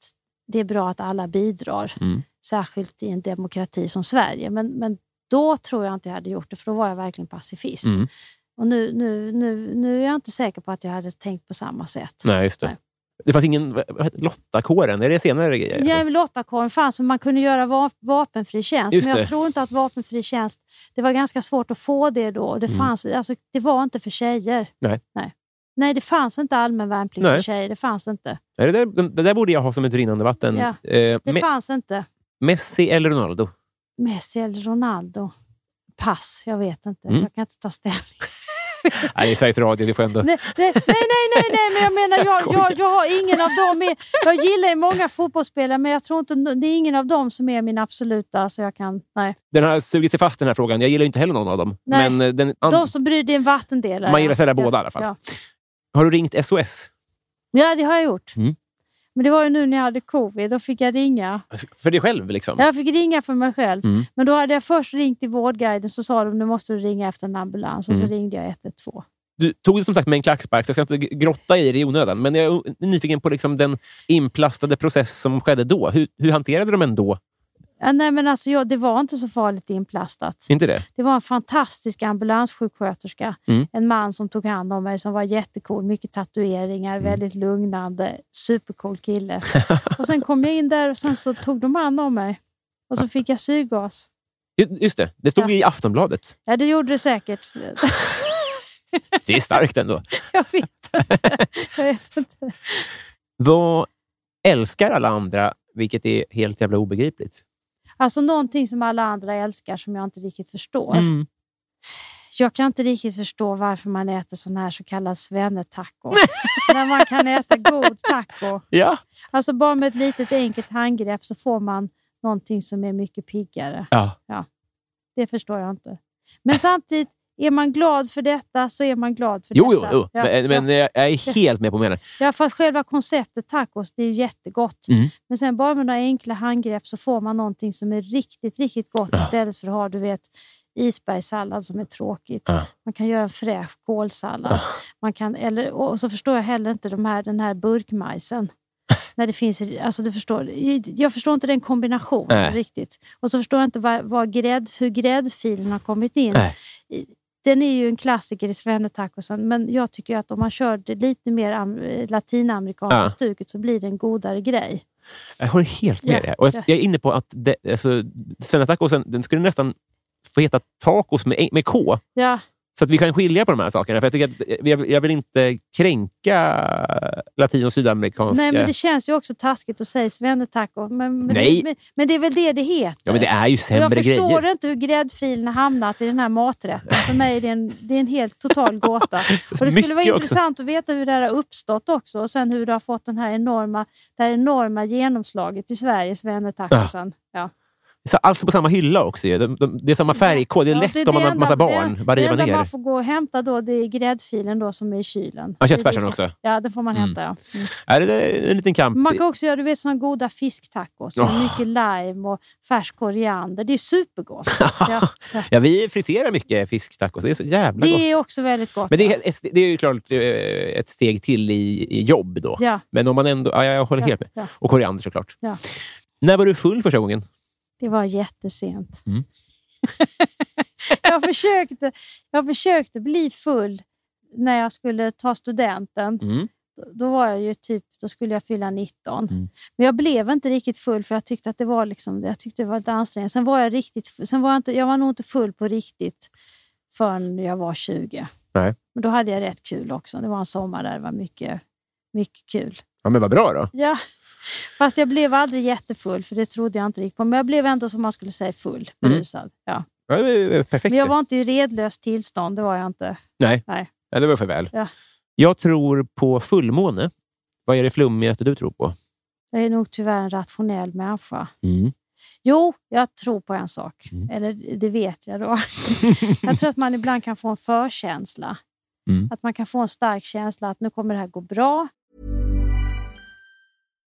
Speaker 3: det är bra att alla bidrar.
Speaker 2: Mm.
Speaker 3: Särskilt i en demokrati som Sverige. Men, men då tror jag inte jag hade gjort det, för då var jag verkligen pacifist.
Speaker 2: Mm.
Speaker 3: Och nu, nu, nu, nu är jag inte säker på att jag hade tänkt på samma sätt.
Speaker 2: Nej, just det.
Speaker 3: Nej.
Speaker 2: Det fanns ingen vad- vad heter- Lottakåren, är det senare grejer?
Speaker 3: Ja, men Lottakorgen fanns, men man kunde göra va- vapenfri tjänst.
Speaker 2: Just
Speaker 3: men jag
Speaker 2: det.
Speaker 3: tror inte att vapenfri tjänst... Det var ganska svårt att få det då. Det, fanns, alltså, det var inte för tjejer.
Speaker 2: Mm. Nej.
Speaker 3: Nej, Nej det fanns inte allmän värnplikt
Speaker 2: Nej.
Speaker 3: för tjejer. Det fanns inte.
Speaker 2: Nej, Det, där, det där borde jag ha som ett rinnande vatten.
Speaker 3: Ja,
Speaker 2: Eh,
Speaker 3: Det
Speaker 2: Me-
Speaker 3: fanns inte.
Speaker 2: Messi eller Ronaldo?
Speaker 3: Messi eller Ronaldo? Pass, jag vet inte.
Speaker 2: Mm.
Speaker 3: Jag kan inte ta ställning.
Speaker 2: [laughs] Nej, det är Sveriges Radio, vi får ändå...
Speaker 3: Nej, nej, nej, nej, nej, nej, men jag menar,
Speaker 2: Jag
Speaker 3: jag,
Speaker 2: skojar.
Speaker 3: jag, jag har ingen av dem. Med, jag gillar ju många fotbollsspelare, men jag tror inte, det är ingen av dem som är min absoluta, så jag kan... Nej.
Speaker 2: Den har sugit sig fast den här frågan. Jag gillar ju inte heller någon av dem.
Speaker 3: Nej.
Speaker 2: Men eh, den, an...
Speaker 3: De som bryr dig en vattendelare.
Speaker 2: man gillar sälja båda i alla fall.
Speaker 3: Ja.
Speaker 2: Har du ringt SOS?
Speaker 3: Ja, det har jag gjort.
Speaker 2: Mm.
Speaker 3: Men det var ju nu när jag hade covid. Då fick jag ringa.
Speaker 2: För dig själv liksom?
Speaker 3: Jag fick ringa för mig själv.
Speaker 2: Mm.
Speaker 3: Men då hade jag först ringt till Vårdguiden så sa de nu måste du ringa efter en ambulans. Och
Speaker 2: Mm.
Speaker 3: så ringde jag 112.
Speaker 2: Du tog det som sagt med en klackspark, så jag ska inte g- grotta i det i onödan. Men jag är nyfiken på liksom den inplastade process som skedde då. Hur, hur hanterade de en då?
Speaker 3: Ja, nej, men alltså, jag, det var inte så farligt inplastat.
Speaker 2: Inte det?
Speaker 3: Det var en fantastisk ambulanssjuksköterska.
Speaker 2: Mm.
Speaker 3: En man som tog hand om mig som var jättecool. Mycket tatueringar,
Speaker 2: Mm.
Speaker 3: väldigt lugnande. Supercool
Speaker 2: [laughs]
Speaker 3: kille. och sen kom jag in där och sen så tog de hand om mig. Och så fick jag syrgas.
Speaker 2: Ju- Just det, det stod i Aftonbladet.
Speaker 3: Ja, det gjorde det säkert. [laughs]
Speaker 2: Det är starkt ändå.
Speaker 3: jag vet inte. Jag vet inte.
Speaker 2: Vad älskar alla andra, vilket är helt jävla obegripligt?
Speaker 3: Alltså någonting som alla andra älskar som jag inte riktigt förstår.
Speaker 2: Mm.
Speaker 3: Jag kan inte riktigt förstå varför man äter sån här så kallad svennetaco. När man kan äta god taco.
Speaker 2: Ja.
Speaker 3: Alltså bara med ett litet enkelt handgrepp så får man någonting som är mycket piggare.
Speaker 2: ja.
Speaker 3: Det förstår jag inte. Men samtidigt, är man glad för detta så är man glad för
Speaker 2: Jo, jo,
Speaker 3: detta.
Speaker 2: jo.
Speaker 3: Ja,
Speaker 2: men, men
Speaker 3: ja.
Speaker 2: jag är helt med på
Speaker 3: [laughs]
Speaker 2: meningen.
Speaker 3: ja, för att själva konceptet tacos, det är ju jättegott.
Speaker 2: Mm.
Speaker 3: Men sen bara med några enkla handgrepp så får man någonting som är riktigt, riktigt gott istället för att ha, du vet, isbergssallad som är tråkigt.
Speaker 2: Ja.
Speaker 3: Man kan göra en fräsch kålsallad. Man kan, eller, och så förstår jag heller inte de här, den här burkmajsen.
Speaker 2: [laughs]
Speaker 3: När det finns, alltså du förstår, jag förstår inte den kombinationen
Speaker 2: Nej.
Speaker 3: riktigt. Och så förstår jag inte vad, vad grädd, hur gräddfilen har kommit in.
Speaker 2: Nej.
Speaker 3: I- Den är ju en klassiker i svennetacosen, men jag tycker ju att om man kör det lite mer am- latinamerikanska
Speaker 2: Ja.
Speaker 3: stuket så blir det en godare grej.
Speaker 2: Jag håller helt med
Speaker 3: Ja,
Speaker 2: dig. här. Och jag,
Speaker 3: ja.
Speaker 2: jag är inne på att det, alltså, svennetacosen den skulle nästan få heta tacos med, med K.
Speaker 3: Ja,
Speaker 2: Så att vi kan skilja på de här sakerna. För jag, tycker att, jag, jag vill inte kränka latin och sydamerikanska...
Speaker 3: Nej, men det känns ju också taskigt att säga svennetaco. Men, men,
Speaker 2: Nej.
Speaker 3: Men, men det är väl det det heter?
Speaker 2: ja, men det är ju
Speaker 3: Och jag
Speaker 2: sämre
Speaker 3: förstår
Speaker 2: grejer.
Speaker 3: inte hur gräddfilen har hamnat i den här maträtten. För mig är det en, det är en helt total gåta. Och det skulle
Speaker 2: Mycket
Speaker 3: vara
Speaker 2: också.
Speaker 3: intressant att veta hur det här har uppstått också och sen hur det har fått den här enorma, det här enorma genomslaget i Sverige, svennetacosen. Ja.
Speaker 2: Så Allt på samma hylla också. ju. De, de, det är samma färgkod. Det är
Speaker 3: Ja,
Speaker 2: lätt
Speaker 3: det är
Speaker 2: om man
Speaker 3: det
Speaker 2: har en massa
Speaker 3: enda-
Speaker 2: barn. Vad
Speaker 3: Det
Speaker 2: river
Speaker 3: enda
Speaker 2: ner?
Speaker 3: man får gå och hämta då, det är gräddfilen då som är i kylen.
Speaker 2: Ja, köttfärsen
Speaker 3: Det är-
Speaker 2: också.
Speaker 3: Ja, den får man
Speaker 2: Mm.
Speaker 3: hämta. Ja. Mm.
Speaker 2: Är det är en liten kamp?
Speaker 3: Man kan också göra du vet, såna goda fisktacos med
Speaker 2: Åh.
Speaker 3: mycket lime och färsk koriander. Det är supergott. ja, ja.
Speaker 2: [laughs] Ja, vi friterar mycket fisktacos. Det är så jävla gott.
Speaker 3: Det är också väldigt gott.
Speaker 2: Men det
Speaker 3: ja.
Speaker 2: är, ett, det är ju klart eh, ett steg till i, i jobb då.
Speaker 3: Ja.
Speaker 2: Men om man ändå... Ja, jag håller
Speaker 3: Ja,
Speaker 2: helt med.
Speaker 3: ja.
Speaker 2: Och koriander såklart.
Speaker 3: Ja.
Speaker 2: När var du full första gången?
Speaker 3: Det var jättesent.
Speaker 2: Mm.
Speaker 3: [laughs] jag, försökte, jag försökte bli full när jag skulle ta studenten.
Speaker 2: Mm.
Speaker 3: Då var jag ju typ, då skulle jag fylla 19.
Speaker 2: Mm.
Speaker 3: Men jag blev inte riktigt full för jag tyckte att det var, liksom, jag tyckte det var lite ansträngande. Sen var jag riktigt, fu- sen var jag, inte, jag var nog inte full på riktigt förrän jag var 20.
Speaker 2: Nej.
Speaker 3: Men då hade jag rätt kul också. Det var en sommar där det var mycket, mycket kul.
Speaker 2: Ja, men vad bra då.
Speaker 3: Ja. Fast jag blev aldrig jättefull, för det trodde jag inte riktigt på. Men jag blev ändå, som man skulle säga, full.
Speaker 2: Mm.
Speaker 3: Berusad. Ja.
Speaker 2: Ja, det var ju perfekt.
Speaker 3: Men jag
Speaker 2: ju.
Speaker 3: var inte i redlöst tillstånd, det var jag inte.
Speaker 2: Nej.
Speaker 3: Nej.
Speaker 2: Ja, det var för väl.
Speaker 3: Ja.
Speaker 2: Jag tror på fullmåne. Vad är det flummigaste du tror på?
Speaker 3: Jag är nog tyvärr en rationell människa.
Speaker 2: Mm.
Speaker 3: Jo, jag tror på en sak. Eller det vet jag då. jag tror att man ibland kan få en förkänsla.
Speaker 2: Mm.
Speaker 3: Att man kan få en stark känsla att nu kommer det här gå bra.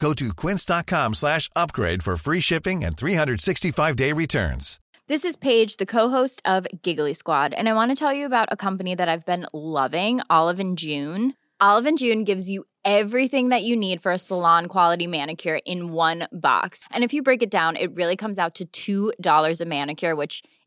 Speaker 4: Go to quince.com slash upgrade for free shipping and 365-day returns.
Speaker 5: This is Paige, the co-host of Giggly Squad, and I want to tell you about a company that I've been loving, Olive and June. Olive and June gives you everything that you need for a salon quality manicure in one box. And if you break it down, it really comes out to $2 a manicure, which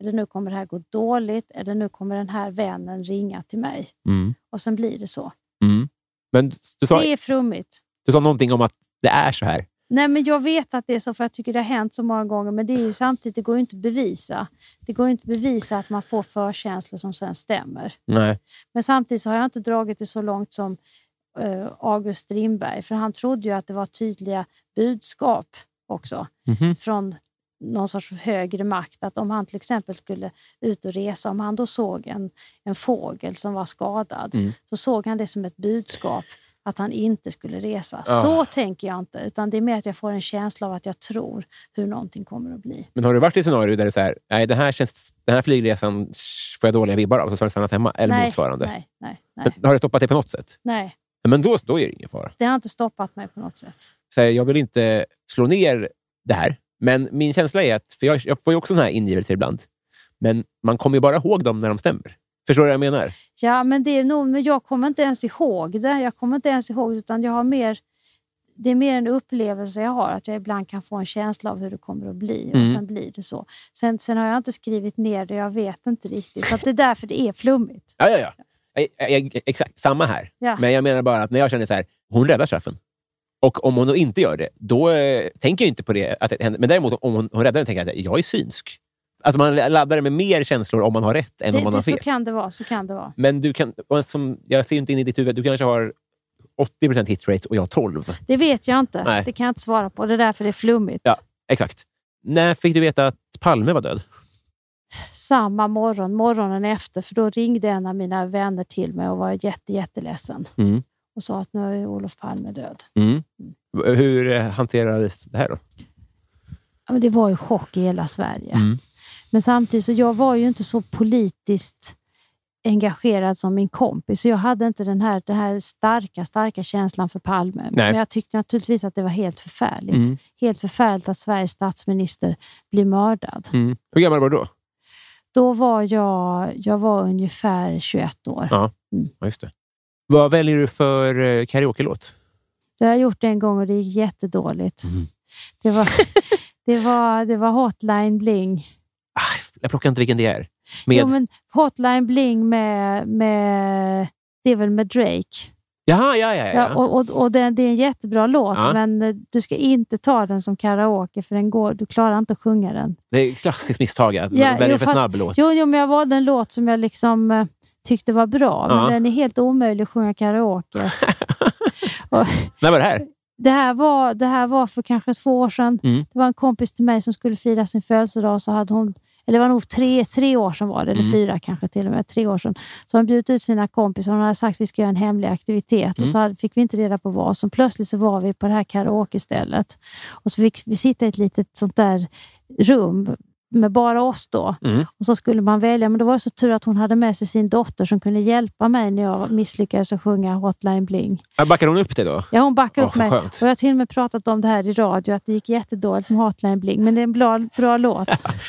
Speaker 3: Eller nu kommer det här gå dåligt. Eller nu kommer den här vännen ringa till mig.
Speaker 2: Mm.
Speaker 3: Och sen blir det så.
Speaker 2: Men du sa,
Speaker 3: Det är frummigt.
Speaker 2: du sa någonting om att det är så här.
Speaker 3: Nej, men jag vet att det är så, för jag tycker det har hänt så många gånger. Men det är ju samtidigt, det går ju inte att bevisa. Det går ju inte att bevisa att man får förkänslor som sen stämmer.
Speaker 2: Nej.
Speaker 3: Men samtidigt så har jag inte dragit det så långt som eh, August Strindberg, för han trodde ju att det var tydliga budskap också
Speaker 2: Mhm.
Speaker 3: från någon sorts högre makt. Att om han till exempel skulle ut och resa, om han då såg en, en fågel som var skadad,
Speaker 2: Mm.
Speaker 3: så såg han det som ett budskap att han inte skulle resa.
Speaker 2: Ah.
Speaker 3: Så tänker jag inte, utan det är mer att jag får en känsla av att jag tror hur någonting kommer att bli.
Speaker 2: Men har du varit i scenario där det är så här, nej, den här, känns, den här flygresan sh, får jag dåliga vibbar av, så ska jag stanna hemma, eller
Speaker 3: nej,
Speaker 2: motsvarande?
Speaker 3: Nej, nej, nej,
Speaker 2: Men, har det stoppat dig på något sätt?
Speaker 3: nej.
Speaker 2: Men då, då är det ingen fara.
Speaker 3: Det har inte stoppat mig på något sätt.
Speaker 2: Så här, jag vill inte slå ner det här, men min känsla är att, för jag, jag får ju också såna här ingivelser ibland, men man kommer ju bara ihåg dem när de stämmer. Förstår du vad jag menar?
Speaker 3: Ja, men, det är nog, men jag kommer inte ens ihåg det. Jag kommer inte ens ihåg det, utan jag har mer, det är mer en upplevelse jag har. Att jag ibland kan få en känsla av hur det kommer att bli och
Speaker 2: Mm.
Speaker 3: sen blir det så. Sen, sen har jag inte skrivit ner det, jag vet inte riktigt. Så att det är därför det
Speaker 2: [laughs]
Speaker 3: är flummigt.
Speaker 2: Ja, ja, ja. Jag, jag, jag, exakt, samma här.
Speaker 3: Ja.
Speaker 2: Men jag menar bara att när jag känner så här, hon räddar straffen. Och om hon då inte gör det, då eh, tänker jag inte på det. Att det händer. Men däremot om hon, hon räddar den, tänker jag att jag är synsk. Alltså man laddar det med mer känslor om man har rätt än
Speaker 3: det,
Speaker 2: om man
Speaker 3: det,
Speaker 2: har
Speaker 3: så
Speaker 2: fel.
Speaker 3: kan det vara. Så kan det vara.
Speaker 2: Men du kan, och som, jag ser ju inte in i ditt huvud. Du kanske har 80 hitrate och jag 12.
Speaker 3: Det vet jag inte.
Speaker 2: Nej.
Speaker 3: Det kan jag inte svara på. Det är därför det är flummigt.
Speaker 2: Ja. Exakt. När fick du veta att Palme var död?
Speaker 3: Samma morgon, morgonen efter, för då ringde en av mina vänner till mig och var jätte, jätteledsen
Speaker 2: Mm.
Speaker 3: och sa att nu är Olof Palme död.
Speaker 2: Mm. V- Hur eh, hanterades det här då?
Speaker 3: Ja, men det var ju chock i hela Sverige.
Speaker 2: Mm.
Speaker 3: Men samtidigt, så jag var ju inte så politiskt engagerad som min kompis. Så jag hade inte den här, den här starka, starka känslan för Palme. Men jag tyckte naturligtvis att det var helt förfärligt.
Speaker 2: Mm.
Speaker 3: Helt förfärligt att Sveriges statsminister blir mördad.
Speaker 2: Mm. Hur gammal var du då?
Speaker 3: Då var jag, jag var ungefär 21 år.
Speaker 2: Ja. Ja, just det. Vad väljer du för eh, karaoke-låt?
Speaker 3: Det har jag gjort en gång och det gick jättedåligt.
Speaker 2: Mm.
Speaker 3: Det, var, [laughs] det, var, det var Hotline Bling.
Speaker 2: Ah, jag plockar inte vilken det är. Med...
Speaker 3: Jo, men Hotline Bling med, med... Det är väl med Drake?
Speaker 2: Jaha, ja, ja, ja.
Speaker 3: Ja, och och, och det, det är en jättebra låt,
Speaker 2: Ja.
Speaker 3: men eh, du ska inte ta den som karaoke, för den går, du klarar inte att sjunga den.
Speaker 2: Det är ett klassiskt misstag att
Speaker 3: Ja,
Speaker 2: välja
Speaker 3: jo,
Speaker 2: för
Speaker 3: fast-
Speaker 2: snabb låt.
Speaker 3: Jo, jo, men jag valde en låt som jag liksom eh, tyckte var bra, men
Speaker 2: Ja.
Speaker 3: den är helt omöjlig att sjunga karaoke.
Speaker 2: [laughs]
Speaker 3: och,
Speaker 2: När var det här?
Speaker 3: det, här var, det här var för kanske två år sedan.
Speaker 2: Mm.
Speaker 3: Det var en kompis till mig som skulle fira sin födelsedag, så hade hon eller det var nog tre, tre år sedan var det, eller
Speaker 2: Mm.
Speaker 3: fyra kanske till och med. Tre år sedan. Så hon bjudit ut sina kompisar. Hon hade sagt att vi ska göra en hemlig aktivitet
Speaker 2: Mm.
Speaker 3: och så hade, fick vi inte reda på vad. Så plötsligt så var vi på det här karaokestället. Och så fick vi sitta i ett litet sånt där rum med bara oss då.
Speaker 2: Mm.
Speaker 3: Och så skulle man välja, men då var det så tur att hon hade med sig sin dotter som kunde hjälpa mig när jag misslyckades att sjunga Hotline Bling.
Speaker 2: Jag backar hon upp det då?
Speaker 3: Ja, hon backade
Speaker 2: Åh,
Speaker 3: upp
Speaker 2: vad
Speaker 3: mig.
Speaker 2: skönt.
Speaker 3: Och jag har till och med pratat om det här i radio, att det gick jättedåligt med Hotline Bling. Men det är en bra,
Speaker 2: [laughs]
Speaker 3: bra låt.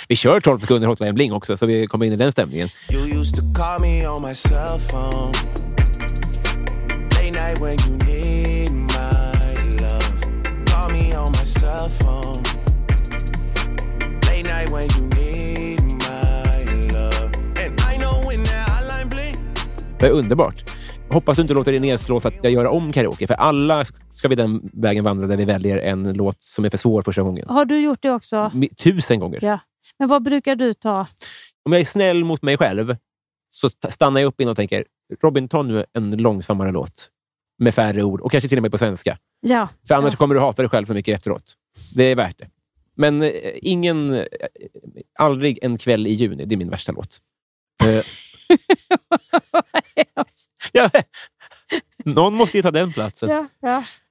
Speaker 2: Vi kör 12 sekunder Hotline Bling också, så vi kommer in i den stämningen.
Speaker 6: You used to call me on my cell phone. Late night when you need my love. Call me on my cell phone. Late night when you need my love. And I know when that hotline bling.
Speaker 2: Det är underbart. Hoppas du inte låter dig nedslås att jag gör om karaoke, för alla ska vi den vägen vandra där vi väljer en låt som är för svår första gången.
Speaker 3: Har du gjort det också?
Speaker 2: Mi- Tusen gånger.
Speaker 3: Ja. Men vad brukar du ta?
Speaker 2: Om jag är snäll mot mig själv så st- stannar jag upp in och tänker, Robin, ta nu en långsammare låt med färre ord och kanske till och med på svenska. [laughs]
Speaker 3: Ja,
Speaker 2: För annars
Speaker 3: Ja.
Speaker 2: kommer du hata dig själv så mycket efteråt. Det är värt det. Men eh, ingen, eh, aldrig en kväll i juni, det är min värsta låt.
Speaker 3: [laughs]
Speaker 2: Eh, ja, någon måste ju ta den platsen.
Speaker 3: ja,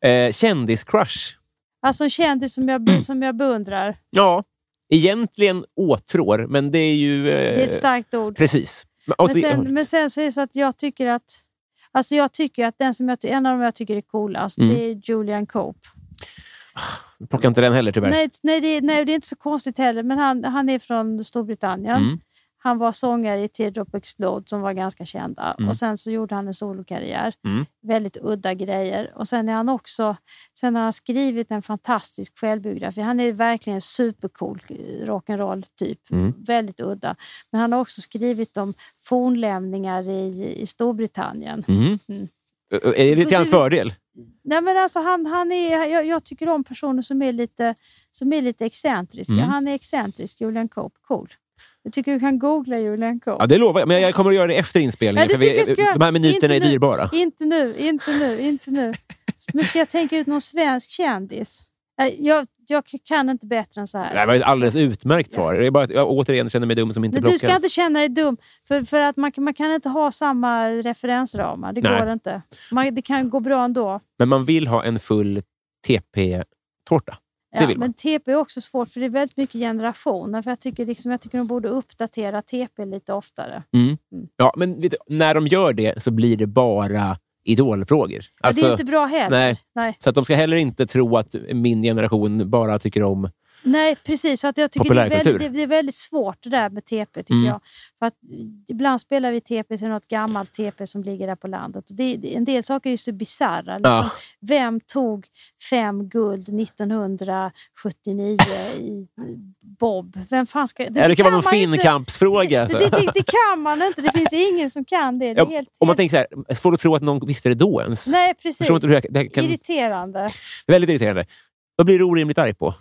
Speaker 3: ja.
Speaker 2: Eh, Kändiscrush.
Speaker 3: Alltså en kändis som
Speaker 2: Mm.
Speaker 3: jag, som jag beundrar.
Speaker 2: Ja, egentligen åtrår, men det är ju... Eh,
Speaker 3: Det är ett starkt ord.
Speaker 2: precis. Men, åt
Speaker 3: Men
Speaker 2: det
Speaker 3: sen,
Speaker 2: hållet.
Speaker 3: men sen så är det så att jag tycker att... Alltså jag tycker att den som jag, ty- en av dem jag tycker är coolast,
Speaker 2: Mm.
Speaker 3: det är Julian Cope.
Speaker 2: Plocka inte den heller tyvärr.
Speaker 3: Nej, nej, det, nej, det är inte så konstigt heller, men han, han är från Storbritannien.
Speaker 2: Mm.
Speaker 3: Han var sångare i Teardrop Explode som var ganska kända.
Speaker 2: Mm.
Speaker 3: Och Sen så gjorde han en solokarriär.
Speaker 2: Mm.
Speaker 3: Väldigt udda grejer. Och Sen är han också sen har han skrivit en fantastisk självbiografi. Han är verkligen en supercool rock'n'roll-typ.
Speaker 2: Mm.
Speaker 3: Väldigt udda. Men han har också skrivit om fornlämningar i, i Storbritannien.
Speaker 2: Mm. Är det till hans fördel?
Speaker 3: Nej, men alltså han, han är, jag, jag tycker om personer som är lite, som är lite excentriska.
Speaker 2: Mm.
Speaker 3: Han är excentrisk, Julian Coop. Cool. Jag tycker du kan googla Julian Coop.
Speaker 2: Ja, det lovar jag. Men jag kommer att göra det efter inspelningen.
Speaker 3: Nej, det
Speaker 2: för vi,
Speaker 3: tycker jag ska göra.
Speaker 2: de här minuterna är
Speaker 3: Inte nu.
Speaker 2: dyrbara.
Speaker 3: Inte nu, inte nu, inte nu. Nu ska jag tänka ut någon svensk kändis. Nej, Jag, jag kan inte bättre än så här.
Speaker 2: Det här var ett alldeles utmärkt svar. Det är bara att jag återigen känner mig dum som inte
Speaker 3: Men du ska
Speaker 2: plockar.
Speaker 3: inte känna dig dum, för, för att man, kan- man kan inte ha samma referensramar. Det
Speaker 2: Nej.
Speaker 3: går inte. Man, det kan gå bra ändå.
Speaker 2: Men man vill ha en full TP-tårta. Det
Speaker 3: Ja,
Speaker 2: vill man.
Speaker 3: men TP är också svårt, för det är väldigt mycket generationer. För jag, tycker liksom, jag tycker de borde uppdatera TP lite oftare.
Speaker 2: Ja, men vet du, när de gör det så blir det bara idolfrågor.
Speaker 3: Ja,
Speaker 2: Alltså,
Speaker 3: det är inte bra heller.
Speaker 2: nej.
Speaker 3: Nej.
Speaker 2: Så att de ska heller inte tro att min generation bara tycker om...
Speaker 3: Nej, precis. Så att jag tycker det är,
Speaker 2: Populärkultur.
Speaker 3: väldigt, det, det är väldigt svårt det där med TP, tycker
Speaker 2: Mm.
Speaker 3: jag. För att ibland spelar vi TP, så är det något gammalt TP som ligger där på landet. Och det, det- en del saker är ju så bisarra. Liksom.
Speaker 2: Ja.
Speaker 3: Vem tog fem guld 1979 i Bob? Vem fan ska...
Speaker 2: Det, det kan vara någon
Speaker 3: man ju inte-
Speaker 2: Finnkampsfråga.
Speaker 3: [laughs] Det,
Speaker 2: så.
Speaker 3: det, det, det kan man inte. Det finns ingen som kan det. det är
Speaker 2: alltså. [laughs] Ja,
Speaker 3: helt,
Speaker 2: Om man
Speaker 3: helt...
Speaker 2: tänker så här, svårt att tro att någon visste det då ens.
Speaker 3: Nej, precis.
Speaker 2: Förstår inte hur jag, det här kan,
Speaker 3: Irriterande.
Speaker 2: väldigt irriterande. Vad blir du orimligt arg på?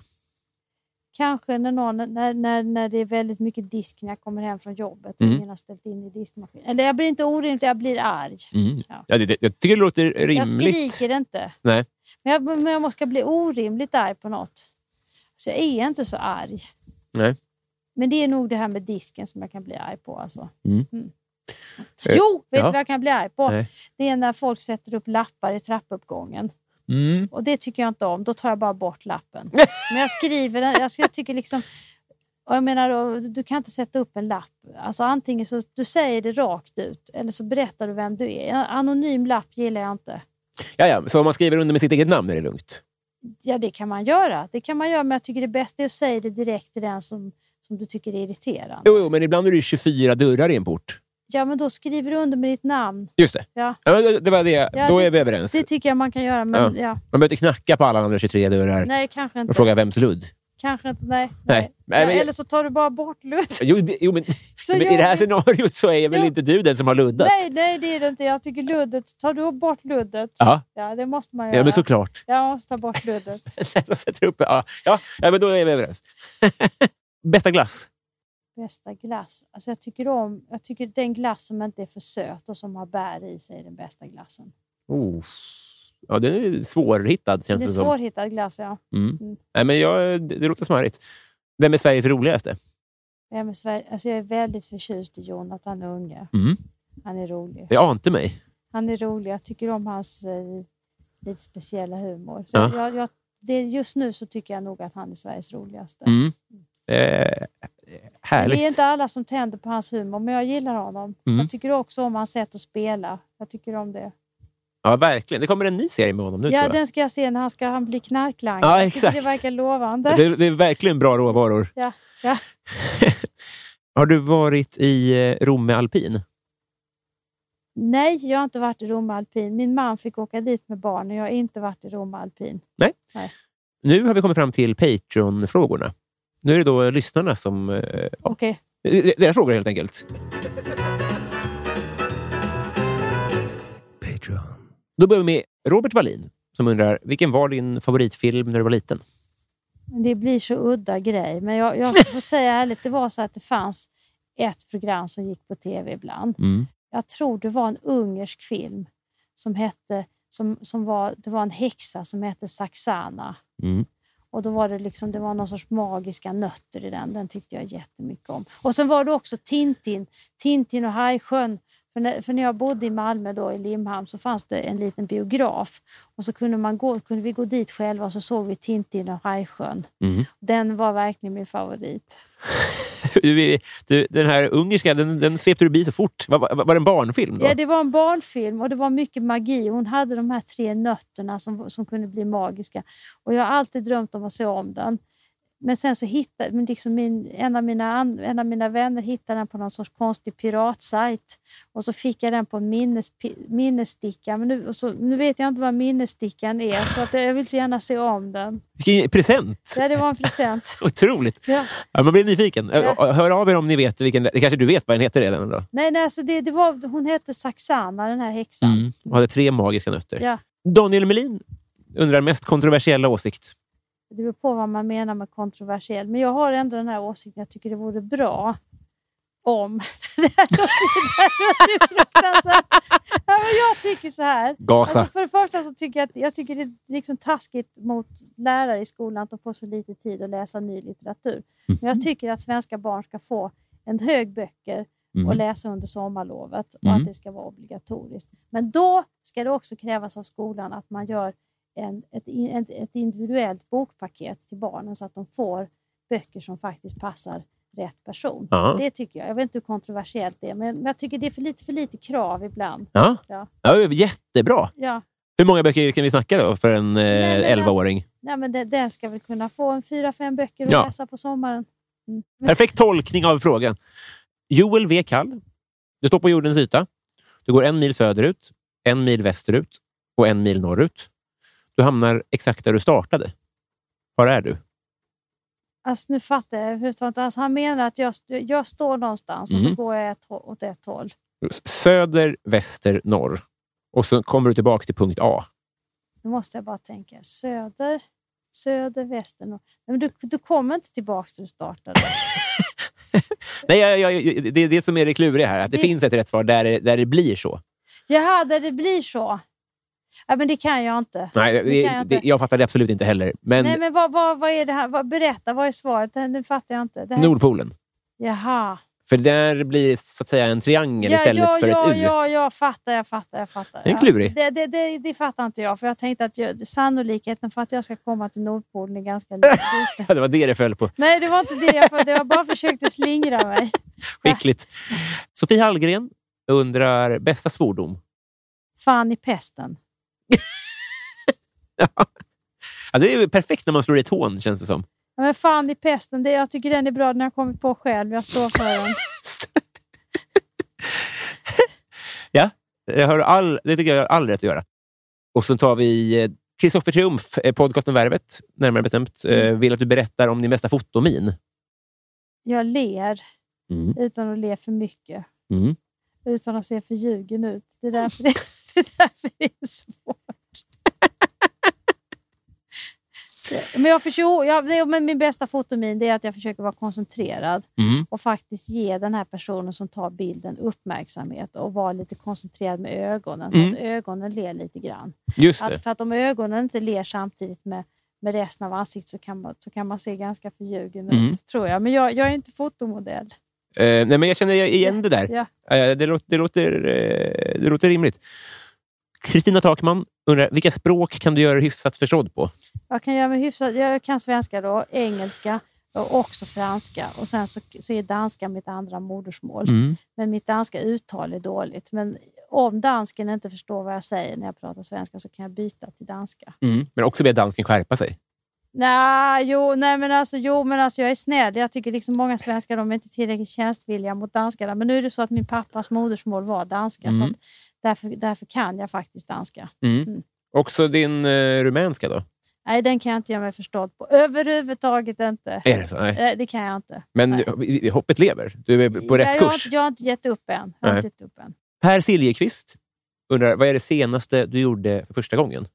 Speaker 3: Kanske när, någon, när, när, när det är väldigt mycket disk när jag kommer hem från jobbet och
Speaker 2: Mm.
Speaker 3: ingen har ställt in i diskmaskinen. Eller jag blir inte orimligt, jag blir arg. Ja.
Speaker 2: Ja, det, det, jag tycker det låter
Speaker 3: Jag
Speaker 2: Mm. rimligt.
Speaker 3: skriker inte.
Speaker 2: Nej.
Speaker 3: Men jag, men jag måste bli orimligt arg på något. Så jag är inte så arg.
Speaker 2: Nej.
Speaker 3: Men det är nog det här med disken som jag kan bli arg på. Alltså.
Speaker 2: Mm. Eh,
Speaker 3: Jo, vet du
Speaker 2: ja.
Speaker 3: vad jag kan bli arg på?
Speaker 2: Nej.
Speaker 3: Det är när folk sätter upp lappar i trappuppgången.
Speaker 2: Mm.
Speaker 3: Och det tycker jag inte om. Då tar jag bara
Speaker 2: [laughs]
Speaker 3: bort lappen. Men jag skriver den. Jag, ska- jag tycker liksom... Och jag menar, och du kan inte sätta upp en lapp. Alltså antingen så du säger det rakt ut eller så berättar du vem du är. En anonym lapp gillar jag inte.
Speaker 2: Ja, ja. Så om man skriver under med sitt eget namn är det lugnt?
Speaker 3: Ja, det kan man göra. Det kan man göra, men jag tycker det bästa är att säga det direkt till den som, som du tycker är irriterande.
Speaker 2: Jo, jo, men ibland är det ju 24 dörrar i en port.
Speaker 3: Ja, men då skriver du under med ditt namn.
Speaker 2: Just det.
Speaker 3: Ja.
Speaker 2: men det- det var det.
Speaker 3: Ja,
Speaker 2: Då
Speaker 3: det-
Speaker 2: är vi överens.
Speaker 3: Det tycker jag man kan göra, men ja.
Speaker 2: Man behöver inte knacka på alla andra 23 dörrar
Speaker 3: Nej, kanske inte.
Speaker 2: och fråga vems ludd.
Speaker 3: Kanske inte. Nej.
Speaker 2: Nej. Nej, men-
Speaker 3: Eller så tar du bara bort Ludde.
Speaker 2: Jo, det, jo men,
Speaker 3: [laughs] Så
Speaker 2: men i
Speaker 3: gör
Speaker 2: det här
Speaker 3: vi.
Speaker 2: scenariot så är väl
Speaker 3: Ja.
Speaker 2: inte du den som har luddat?
Speaker 3: Nej, nej, det är det inte. Jag tycker luddet. Tar du bort luddet?
Speaker 2: Ja,
Speaker 3: Ja, det måste man göra.
Speaker 2: ja men såklart. [laughs]
Speaker 3: Jag måste ta bort luddet.
Speaker 2: Jag sätter upp, ja, ja, ja, men då är vi överens. [laughs] Bästa glass?
Speaker 3: Bästa glass. Alltså jag tycker om jag tycker den glass som inte är för söt och som har bär i sig är den bästa glassen.
Speaker 2: Oh. Ja, den är svårhittad känns det,
Speaker 3: det är
Speaker 2: som.
Speaker 3: svårhittad glass, ja.
Speaker 2: Mm. Nej, men jag, det, det låter smarrigt. Vem är Sveriges roligaste?
Speaker 3: Ja, men Sverige, alltså jag är väldigt förtjust i Jonathan Unge.
Speaker 2: Mm.
Speaker 3: Han är rolig.
Speaker 2: Det ante mig.
Speaker 3: Han är rolig. Jag tycker om hans eh, lite speciella humor. Så
Speaker 2: Ja.
Speaker 3: jag, jag, det, just nu så tycker jag nog att han är Sveriges roligaste.
Speaker 2: Mm. Eh,
Speaker 3: Men
Speaker 2: härligt.
Speaker 3: Det är inte alla som tänder på hans humor, men jag gillar honom.
Speaker 2: Mm.
Speaker 3: Jag tycker också om hans sätt att spela. Jag tycker om det.
Speaker 2: Ja, verkligen. Det kommer en ny serie med honom nu,
Speaker 3: Ja,
Speaker 2: tror jag.
Speaker 3: den ska jag se när han, ska, han blir knarklangare.
Speaker 2: Ja,
Speaker 3: jag tycker det
Speaker 2: exakt.
Speaker 3: verkar lovande.
Speaker 2: Ja, Det, det är verkligen bra råvaror.
Speaker 3: Ja, ja.
Speaker 2: Har du varit i eh, Romme Alpin?
Speaker 3: Nej, jag har inte varit i Roma alpin. Min man fick åka dit med barnen. Jag har inte varit i Roma alpin.
Speaker 2: Nu har vi kommit fram till Patreon-frågorna. Nu är det då lyssnarna som... eh, Ja,
Speaker 3: Okej.
Speaker 2: det- deras frågor helt enkelt.
Speaker 6: Patreon.
Speaker 2: Då börjar vi med Robert Wallin som undrar, vilken var din favoritfilm när du var liten? [laughs]
Speaker 3: Det blir så udda grej, men jag, jag får säga ärligt, det var så att det fanns ett program som gick på tv ibland.
Speaker 2: Mm.
Speaker 3: Jag tror det var en ungersk film som hette, som, som var, det var en häxa som hette Saxana.
Speaker 2: Mm.
Speaker 3: Och då var det liksom, det var någon sorts magiska nötter i den. Den tyckte jag jättemycket om. Och sen var det också Tintin, Tintin och Hajsjön. För när, för när jag bodde i Malmö, då, i Limhamn, så fanns det en liten biograf. Och så kunde, man gå, kunde vi gå dit själva och så såg vi Tintin och Hajsjön.
Speaker 2: Mm.
Speaker 3: Den var verkligen min favorit.
Speaker 2: Du, du, den här ungerska, den, den svepte du bi så fort. Var, var, var det en barnfilm? Då?
Speaker 3: Ja, det var en barnfilm och det var mycket magi. Hon hade de här tre nötterna som, som kunde bli magiska. Och Jag har alltid drömt om att se om den. Men sen så hittade men liksom min, en, av mina, an- en av mina vänner hittade den på någon sorts konstig piratsajt. Och så fick jag den på en minnes, minnessticka. Men nu, och så, nu vet jag inte vad minnesstickan är, så att jag vill så gärna se om den.
Speaker 2: Vilken present!
Speaker 3: Ja, det var en present.
Speaker 2: Otroligt!
Speaker 3: [laughs] Ja.
Speaker 2: Ja, man blir nyfiken.
Speaker 3: Ja.
Speaker 2: Ö- Hör av er om ni vet vilken... Det kanske du vet vad den heter redan? Då.
Speaker 3: Nej, nej alltså det, det var, hon hette Saxana, den här häxan.
Speaker 2: Och hade tre magiska nötter.
Speaker 3: Ja,
Speaker 2: Daniel Melin undrar mest kontroversiella åsikt.
Speaker 3: det beror på vad man menar med kontroversiell. Men jag har ändå den här åsikten. Jag tycker det vore bra om... [laughs] det här låter ju fruktansvärt. Ja, men jag tycker så här.
Speaker 2: Gasa.
Speaker 3: Alltså, för det första så tycker jag att jag tycker det är liksom taskigt mot lärare i skolan att de får så lite tid att läsa ny litteratur. Men jag tycker att svenska barn ska få en hög böcker och läsa under sommarlovet och att det ska vara obligatoriskt. Men då ska det också krävas av skolan att man gör en, ett, in- ett, ett individuellt bokpaket till barnen så att de får böcker som faktiskt passar rätt person.
Speaker 2: Ja.
Speaker 3: Det tycker jag. Jag vet inte hur kontroversiellt det är, men, men jag tycker det är för lite, för lite krav ibland.
Speaker 2: Ja.
Speaker 3: Ja.
Speaker 2: Ja, jättebra!
Speaker 3: Ja.
Speaker 2: Hur många böcker kan vi snacka då för en
Speaker 3: Nej, men alltså- Mm.
Speaker 2: eh, 11-åring?
Speaker 3: Nej, men den, den ska väl kunna få en fyra, fem böcker att
Speaker 2: Ja.
Speaker 3: läsa på sommaren. Mm. Men-
Speaker 2: Perfekt tolkning av frågan. Joel V. Kall. Du står på jordens yta. Du går en mil söderut, en mil västerut och en mil norrut. Du hamnar exakt där du startade. Var är du?
Speaker 3: Alltså, nu fattar jag överhuvudtaget inte. alltså, Han menar att jag, jag står någonstans och
Speaker 2: Mhm.
Speaker 3: så går jag ett, hå- åt ett håll.
Speaker 2: Söder, väster, norr. Och så kommer du tillbaka till punkt A.
Speaker 3: Nu måste jag bara tänka. Söder, söder, väster, norr. Nej, men du, du kommer inte tillbaka till du startade.
Speaker 2: Nej, jag, jag, jag, det är det som är det kluriga här. Att det,
Speaker 3: Det-
Speaker 2: finns ett rätt svar där det, där det blir så.
Speaker 3: [laughs] Jaha, där det blir så. Ja, men det kan jag inte.
Speaker 2: Nej, det,
Speaker 3: Det kan jag
Speaker 2: det,
Speaker 3: inte.
Speaker 2: jag fattar det absolut inte heller. Men,
Speaker 3: Nej, men vad, vad, vad är det här? Vad, berätta, vad är svaret? Det, det fattar jag inte. Det här är-
Speaker 2: Nordpolen.
Speaker 3: Jaha.
Speaker 2: För där blir det så att säga en triangel
Speaker 3: Ja,
Speaker 2: istället
Speaker 3: ja,
Speaker 2: för
Speaker 3: ja,
Speaker 2: ett U.
Speaker 3: ja, jag fattar, jag fattar, jag fattar.
Speaker 2: Det är
Speaker 3: Ja.
Speaker 2: klurig.
Speaker 3: Det, det, det, det fattar inte jag, för jag tänkte att jag, sannolikheten för att jag ska komma till Nordpolen är
Speaker 2: [laughs]
Speaker 3: ganska liten.
Speaker 2: Ja, [laughs] det var det det föll på.
Speaker 3: Nej, det var inte det jag fattade. Jag bara försökte slingra mig.
Speaker 2: Skickligt. Sofie Hallgren undrar bästa svordom.
Speaker 3: Fan i pesten.
Speaker 2: Ja, det är ju perfekt när man slår i ett hån, känns det som.
Speaker 3: Ja, men fan i pesten, det, jag tycker den är bra. Den har jag kommit på själv. Jag står för den.
Speaker 2: Det, har all, det tycker jag har all rätt att göra. Och så tar vi eh, Kristoffer Triumf, eh, podcasten Värvet, närmare bestämt, eh, vill att du berättar om din bästa fotomin.
Speaker 3: Jag ler
Speaker 2: Mm.
Speaker 3: utan att le för mycket.
Speaker 2: Mm.
Speaker 3: Utan att se för ljugen ut. Det
Speaker 2: [laughs]
Speaker 3: är därför det, det, är, därför det är svårt. Men, jag försöker, jag, det- men min bästa fotomin det är att jag försöker vara koncentrerad
Speaker 2: Mm.
Speaker 3: och faktiskt ge den här personen som tar bilden uppmärksamhet och vara lite koncentrerad med ögonen så
Speaker 2: Mm.
Speaker 3: att ögonen ler lite grann.
Speaker 2: Just det.
Speaker 3: Att, för att om ögonen inte ler samtidigt med, med resten av ansiktet så kan man, så kan man se ganska förljugen
Speaker 2: Mm.
Speaker 3: ut, tror jag. Men jag, jag är inte fotomodell.
Speaker 2: Eh, nej, men jag känner igen det där.
Speaker 3: Ja.
Speaker 2: Eh, det, låter, det, låter, eh, det låter rimligt. Kristina Takman undrar, vilka språk kan du göra dig hyfsat förstådd på?
Speaker 3: Jag kan göra mig hyfsat. Jag kan svenska, då, engelska och också franska. Och sen så, så är danska mitt andra modersmål.
Speaker 2: Mm.
Speaker 3: Men mitt danska uttal är dåligt. Men om dansken inte förstår vad jag säger när jag pratar svenska så kan jag byta till danska.
Speaker 2: Mm. Men också be dansken skärpa sig.
Speaker 3: Nej, jo, nej, men alltså, jo, men alltså jag är snäll. Jag tycker liksom många svenskar de är inte tillräckligt tjänstvilliga mot danskarna. Men nu är det så att min pappas modersmål var danska. Så
Speaker 2: Mm.
Speaker 3: att därför, därför kan jag faktiskt danska. Mm.
Speaker 2: Också din eh, rumänska då?
Speaker 3: Nej, den kan jag inte göra mig förstådd på. Överhuvudtaget inte.
Speaker 2: Är det så? Nej.
Speaker 3: Eh, Det kan jag inte.
Speaker 2: Men
Speaker 3: Nej.
Speaker 2: vi- hoppet lever. Du är på
Speaker 3: jag,
Speaker 2: rätt
Speaker 3: jag, har
Speaker 2: kurs.
Speaker 3: inte- jag har inte gett upp än. Jag har
Speaker 2: Nej.
Speaker 3: inte gett upp än.
Speaker 2: Per Siljeqvist undrar, vad är det senaste du gjorde för första gången?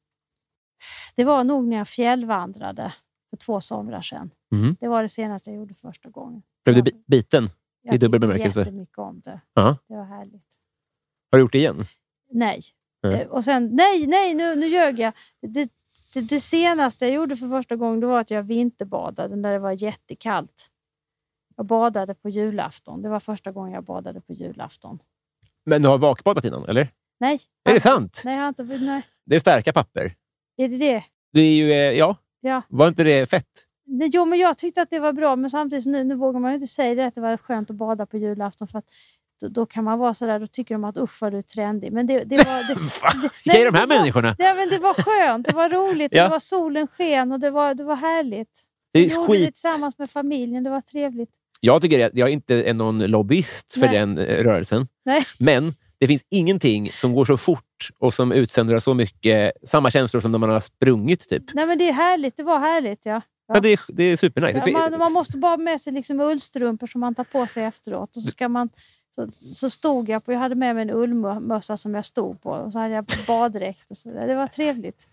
Speaker 3: Det var nog när jag fjällvandrade för två somrar sedan.
Speaker 2: Mhm.
Speaker 3: Det var det senaste jag gjorde första gången.
Speaker 2: Blev du
Speaker 3: Ja.
Speaker 2: bi- biten?
Speaker 3: Jag
Speaker 2: I dubbel
Speaker 3: tyckte
Speaker 2: bemärkelse.
Speaker 3: jättemycket om det.
Speaker 2: Ja.
Speaker 3: Det var härligt.
Speaker 2: Har du gjort det igen?
Speaker 3: Nej.
Speaker 2: Nej.
Speaker 3: Eh, Och sen, nej, nej, nu, nu ljög jag. Det, det, det senaste jag gjorde för första gången det var att jag vinterbadade när det var jättekallt. Jag badade på julafton. Det var första gången jag badade på julafton.
Speaker 2: Men du har vakbadat innan, eller?
Speaker 3: Nej.
Speaker 2: Är det sant?
Speaker 3: Nej, jag har inte... Nej.
Speaker 2: Det är starka papper.
Speaker 3: Är det det?
Speaker 2: Det är ju, eh, ja.
Speaker 3: Ja.
Speaker 2: Var inte det fett?
Speaker 3: Nej, jo, men jag tyckte att det var bra, men samtidigt nu, nu vågar man ju inte säga det att det var skönt att bada på julafton. För att då, då kan man vara sådär, då tycker de att usch vad du är trendig. Men det, det
Speaker 2: [laughs]
Speaker 3: var... Det, det,
Speaker 2: Vilka är de
Speaker 3: men
Speaker 2: här
Speaker 3: det var,
Speaker 2: människorna?
Speaker 3: Nej, men det var skönt, det var roligt,
Speaker 2: Ja.
Speaker 3: det var solen sken och det var, det var härligt.
Speaker 2: Det
Speaker 3: Vi
Speaker 2: är
Speaker 3: gjorde det
Speaker 2: skit.
Speaker 3: tillsammans med familjen, det var trevligt.
Speaker 2: Jag tycker att jag inte är någon lobbyist för
Speaker 3: Nej.
Speaker 2: den eh, rörelsen.
Speaker 3: Nej.
Speaker 2: Men det finns ingenting som går så fort och som utsöndrar så mycket samma känslor som när man har sprungit. typ.
Speaker 3: Nej men det är härligt, det var härligt ja.
Speaker 2: Ja. det, är, det är supernice.
Speaker 3: Ja, Man, man måste bara ha med sig liksom ullstrumpor som man tar på sig efteråt. Och så, ska man, så, så stod jag på, jag hade med mig en ullmössa som jag stod på och så hade jag baddräkt. Och så där. Det var trevligt.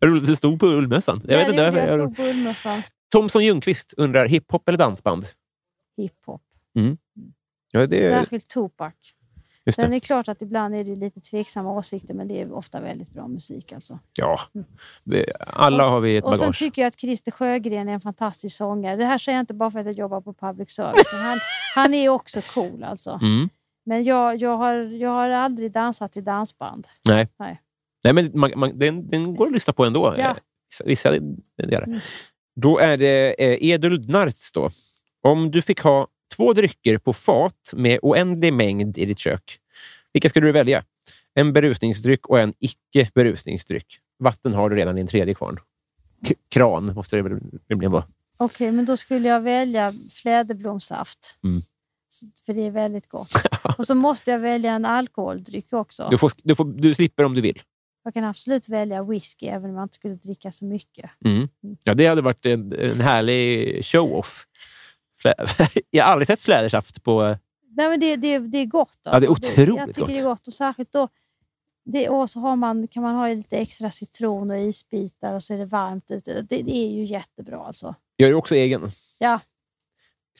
Speaker 2: Roligt att det stod på ullmössan. Jag vet
Speaker 3: Ja,
Speaker 2: inte
Speaker 3: det gjorde
Speaker 2: varför.
Speaker 3: jag
Speaker 2: Jag
Speaker 3: stod på ullmössan.
Speaker 2: Thomson Ljungqvist undrar, hiphop eller dansband?
Speaker 3: Hiphop,
Speaker 2: Ja, det är,
Speaker 3: särskilt Tupac.
Speaker 2: just
Speaker 3: Sen Alltså, är
Speaker 2: det.
Speaker 3: det klart att ibland är det ju lite tveksamma åsikter men det är ofta väldigt bra musik alltså.
Speaker 2: Ja. Vi- Alla har vi ett
Speaker 3: Och sen
Speaker 2: bagage.
Speaker 3: tycker jag att Christer Sjögren är en fantastisk sångare. Det här säger jag inte bara för att jag jobbar på public service. Men han, han är också cool alltså.
Speaker 2: Mm.
Speaker 3: Men jag, jag, har, jag har aldrig dansat i dansband.
Speaker 2: Nej.
Speaker 3: Nej.
Speaker 2: Nej, men man, man, den, den går att lyssna på ändå.
Speaker 3: Ja. Mm.
Speaker 2: Eh, vissa- Vissa delar. Då är det eh, Eduld Narts. Då. Om du fick ha två drycker på fat med oändlig mängd i ditt kök, vilka skulle du välja? En berusningsdryck och en icke-berusningsdryck. Vatten har du redan i en tredje kvarn. K- kran måste det väl rimligen vara.
Speaker 3: Okej, men då skulle jag välja fläderblomssaft.
Speaker 2: Mm.
Speaker 3: Så- För det är
Speaker 2: [laughs]
Speaker 3: väldigt gott. Och så måste jag välja en alkoholdryck också.
Speaker 2: Du, får, du, får, du slipper om du vill.
Speaker 3: Jag kan absolut välja whisky även om jag inte skulle dricka så mycket.
Speaker 2: Mm. Ja, det hade varit en, en härlig show-off. Flä- [laughs] Jag har aldrig sett flädersaft på...
Speaker 3: Nej, men det, det, det är gott.
Speaker 2: Ja, det är
Speaker 3: Jag
Speaker 2: otroligt
Speaker 3: tycker det är gott. Och särskilt då, det, och så har man, kan man ha lite extra citron och isbitar och så är det varmt ute. Det, det är ju jättebra alltså.
Speaker 2: Jag är också egen.
Speaker 3: Ja.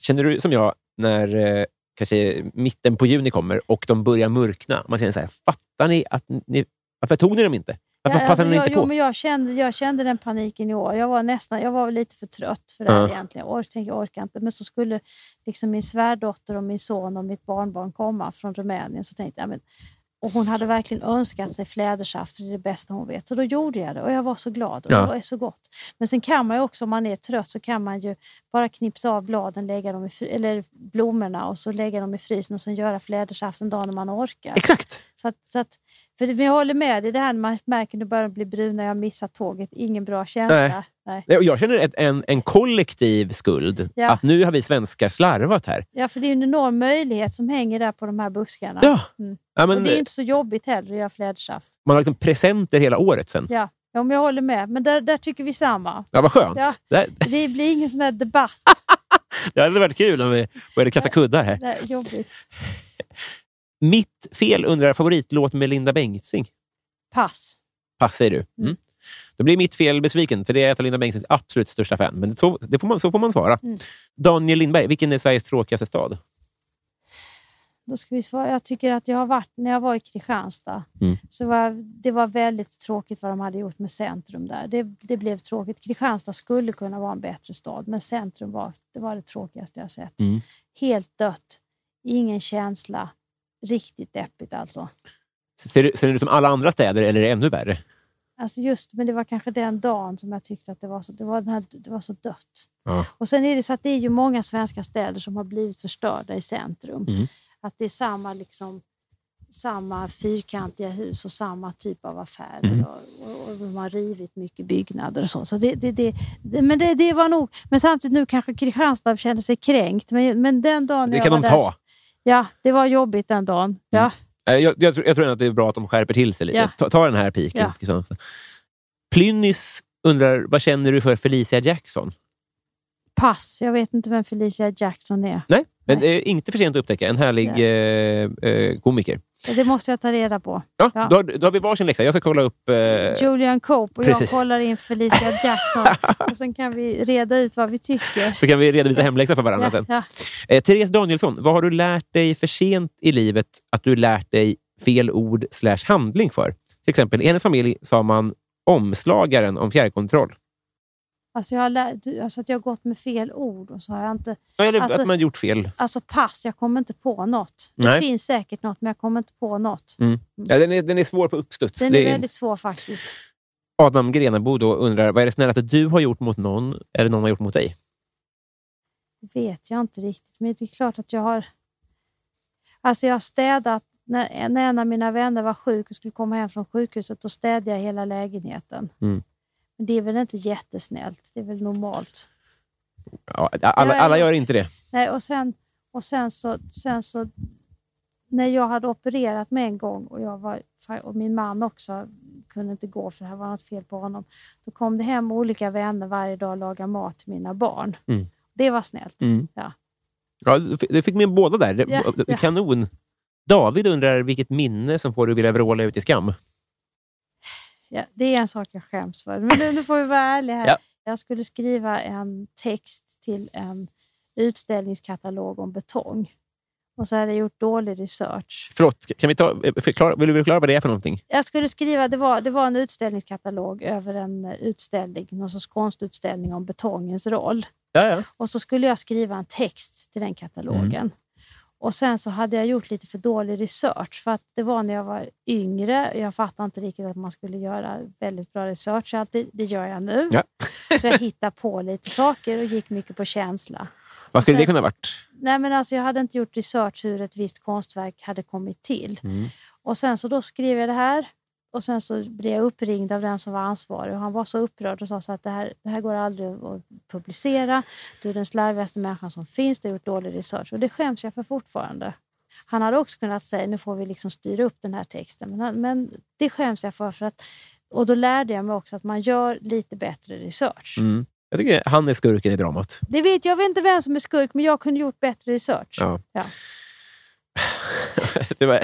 Speaker 2: Känner du som jag när eh, kanske mitten på juni kommer och de börjar mörkna? Man känner så här, fattar ni att ni... Varför tog ni dem inte? Varför
Speaker 3: Ja, alltså,
Speaker 2: passade ni
Speaker 3: jag,
Speaker 2: inte
Speaker 3: jo,
Speaker 2: på?
Speaker 3: men jag, kände, jag kände den paniken i år. Jag var nästan, jag var lite för trött för det här
Speaker 2: Ja.
Speaker 3: egentligen. Jag tänkte, jag orkar inte. Men så skulle liksom min svärdotter och min son och mitt barnbarn komma från Rumänien. Så tänkte jag, men, och hon hade verkligen önskat sig flädersaft, för det är det bästa hon vet. Så då gjorde jag det och jag var så glad. Och
Speaker 2: Ja.
Speaker 3: Det var så gott. Men sen kan man ju också, om man är trött, så kan man ju bara knipsa av bladen, lägga dem i fry- eller blommorna och så lägga dem i frysen och sen göra flädersaft en dag när man orkar.
Speaker 2: Exakt!
Speaker 3: Så att, så att, för vi håller med dig, det här när man märker att du börjar bli brun när jag missar tåget. Ingen bra känsla.
Speaker 2: Nej.
Speaker 3: Nej.
Speaker 2: Nej, och Jag känner ett, en, en kollektiv skuld.
Speaker 3: Ja.
Speaker 2: Att nu har vi svenskar slarvat här.
Speaker 3: Ja, för det är ju en enorm möjlighet som hänger där på de här buskarna.
Speaker 2: Ja.
Speaker 3: Mm.
Speaker 2: Ja,
Speaker 3: och
Speaker 2: men,
Speaker 3: det är ju inte så jobbigt heller att göra flädersaft.
Speaker 2: Man har liksom presenter hela året sen.
Speaker 3: Ja, ja men jag håller med. Men där, där tycker vi samma.
Speaker 2: Ja, vad skönt.
Speaker 3: Ja.
Speaker 2: Det,
Speaker 3: Det blir ingen sån där debatt.
Speaker 2: det hade varit kul om vi började kasta kuddar här.
Speaker 3: Det är jobbigt.
Speaker 2: Mitt fel undrar favoritlåt med Linda Bengtzing.
Speaker 3: Pass.
Speaker 2: Pass säger du. Mm. Då blir mitt fel besviken, för det är ett av Linda Bengtzings absolut största fan. Men så, det får man, så får man svara. Daniel Lindberg, vilken är Sveriges tråkigaste stad?
Speaker 3: Då ska vi svara. Jag tycker att jag har varit, när jag var i Kristianstad,
Speaker 2: Mm.
Speaker 3: så var, det var väldigt tråkigt vad de hade gjort med centrum där. Det, det blev tråkigt. Kristianstad skulle kunna vara en bättre stad, men centrum var det, var det tråkigaste jag sett.
Speaker 2: Mm.
Speaker 3: Helt dött, ingen känsla. Riktigt deppigt alltså.
Speaker 2: Ser, det- ser det ut som alla andra städer eller är det ännu värre?
Speaker 3: alltså just, men det var kanske den dagen som jag tyckte att det var så, det var den här, det var så dött.
Speaker 2: Ja.
Speaker 3: Och sen är det så att det är ju många svenska städer som har blivit förstörda i centrum.
Speaker 2: Mm.
Speaker 3: Att det är samma, liksom, samma fyrkantiga hus och samma typ av affärer.
Speaker 2: Mm.
Speaker 3: Och, och, och de har rivit mycket byggnader och så. så det, det, det, det, men det, det var nog... Men samtidigt nu kanske Kristianstad känner sig kränkt. Men, men den dagen
Speaker 2: Det
Speaker 3: jag
Speaker 2: kan
Speaker 3: var
Speaker 2: de
Speaker 3: där-
Speaker 2: ta.
Speaker 3: Ja, det var jobbigt den dagen. Ja.
Speaker 2: Eh, Jag, jag, tror- jag tror ändå att det är bra att de skärper till sig lite.
Speaker 3: Ja.
Speaker 2: Ta, ta den här piken.
Speaker 3: Ja.
Speaker 2: Ja. Plynnis undrar, vad känner du för Felicia Jackson?
Speaker 3: Pass. Jag vet inte vem Felicia Jackson är.
Speaker 2: Nej, men det är inte för sent att upptäcka. En härlig
Speaker 3: Ja.
Speaker 2: eh, eh, komiker.
Speaker 3: Det måste jag ta reda på.
Speaker 2: Ja,
Speaker 3: Ja.
Speaker 2: Då, har- då har vi varsin läxa. Jag ska kolla upp... Eh,
Speaker 3: Julian Cope och jag
Speaker 2: precis.
Speaker 3: kollar
Speaker 2: [laughs]
Speaker 3: in Felicia Jackson. och sen kan vi reda ut vad vi tycker.
Speaker 2: så kan vi redovisa hemläxa för varandra
Speaker 3: Ja,
Speaker 2: sen.
Speaker 3: ja.
Speaker 2: Eh, Therese Danielsson, vad har du lärt dig för sent i livet att du lärt dig fel ord slash handling för? Till exempel, i hennes familj sa man omslagaren om fjärrkontroll.
Speaker 3: Alltså jag har lä- du, alltså att jag har gått med fel ord och så har jag inte...
Speaker 2: Ja, Eller
Speaker 3: Alltså-
Speaker 2: att man gjort fel.
Speaker 3: Alltså pass, jag kommer inte på något.
Speaker 2: Nej.
Speaker 3: Det finns säkert något, men jag kommer inte på något.
Speaker 2: Ja, den, är, den är svår på uppstuds.
Speaker 3: Den
Speaker 2: Det
Speaker 3: är
Speaker 2: är-
Speaker 3: väldigt svår faktiskt.
Speaker 2: Adam Grenabo då undrar, vad är det snällaste du har gjort mot någon eller någon har gjort mot dig?
Speaker 3: Det vet jag inte riktigt, men det är klart att jag har... Alltså jag har städat. När, när en av mina vänner var sjuk och skulle komma hem från sjukhuset, då städade jag hela lägenheten.
Speaker 2: Mm.
Speaker 3: Men det är väl inte jättesnällt. Det är väl normalt.
Speaker 2: Ja, alla,
Speaker 3: Nej.
Speaker 2: alla gör inte det.
Speaker 3: Nej, och sen, och sen, så, sen så... När jag hade opererat mig en gång och, jag var, och min man också kunde inte gå för det här var något fel på honom. Då kom det hem olika vänner varje dag och lagade mat till mina barn.
Speaker 2: Mm.
Speaker 3: Det var snällt.
Speaker 2: Mm.
Speaker 3: Ja.
Speaker 2: Ja, du fi- du fick med båda där. Det-
Speaker 3: Ja,
Speaker 2: bo-
Speaker 3: ja.
Speaker 2: Kanon. David undrar vilket minne som får dig att vilja vråla ut i skam.
Speaker 3: Ja, det är en sak jag skäms för. Men nu, nu får vi vara ärliga här.
Speaker 2: Ja.
Speaker 3: Jag skulle skriva en text till en utställningskatalog om betong. Och så hade jag gjort dålig research.
Speaker 2: Förlåt, kan vi ta, eh, förklara, vill du förklara vad det är för någonting?
Speaker 3: Jag skulle skriva, det var, det var en utställningskatalog över en eh, utställning, någon sorts konstutställning om betongens roll.
Speaker 2: Ja, ja.
Speaker 3: Och så skulle jag skriva en text till den katalogen. Och sen så hade jag gjort lite för dålig research. För att det var när jag var yngre. Jag fattade inte riktigt att man skulle göra väldigt bra research. Så alltid, det gör jag nu.
Speaker 2: Ja.
Speaker 3: så jag hittade på lite saker och gick mycket på känsla.
Speaker 2: Vad skulle
Speaker 3: Sen-
Speaker 2: det kunna ha varit?
Speaker 3: Nej, men alltså, jag hade inte gjort research hur ett visst konstverk hade kommit till.
Speaker 2: Mm.
Speaker 3: Och sen så då skrev jag det här. Och sen så blev jag uppringd av den som var ansvarig och han var så upprörd och sa så att det här, det här går aldrig att publicera. Du är den slarvigaste människan som finns, du har gjort dålig research. Och det skäms jag för fortfarande. Han hade också kunnat säga nu får vi liksom styra upp den här texten. Men, han- men det skäms jag för. för att, och då lärde jag mig också att man gör lite bättre research.
Speaker 2: Mm. Jag tycker han är skurken i dramat.
Speaker 3: Det vet, jag vet inte vem som är skurk, men jag kunde gjort bättre research.
Speaker 2: Ja.
Speaker 3: Ja.
Speaker 2: [laughs] det, var,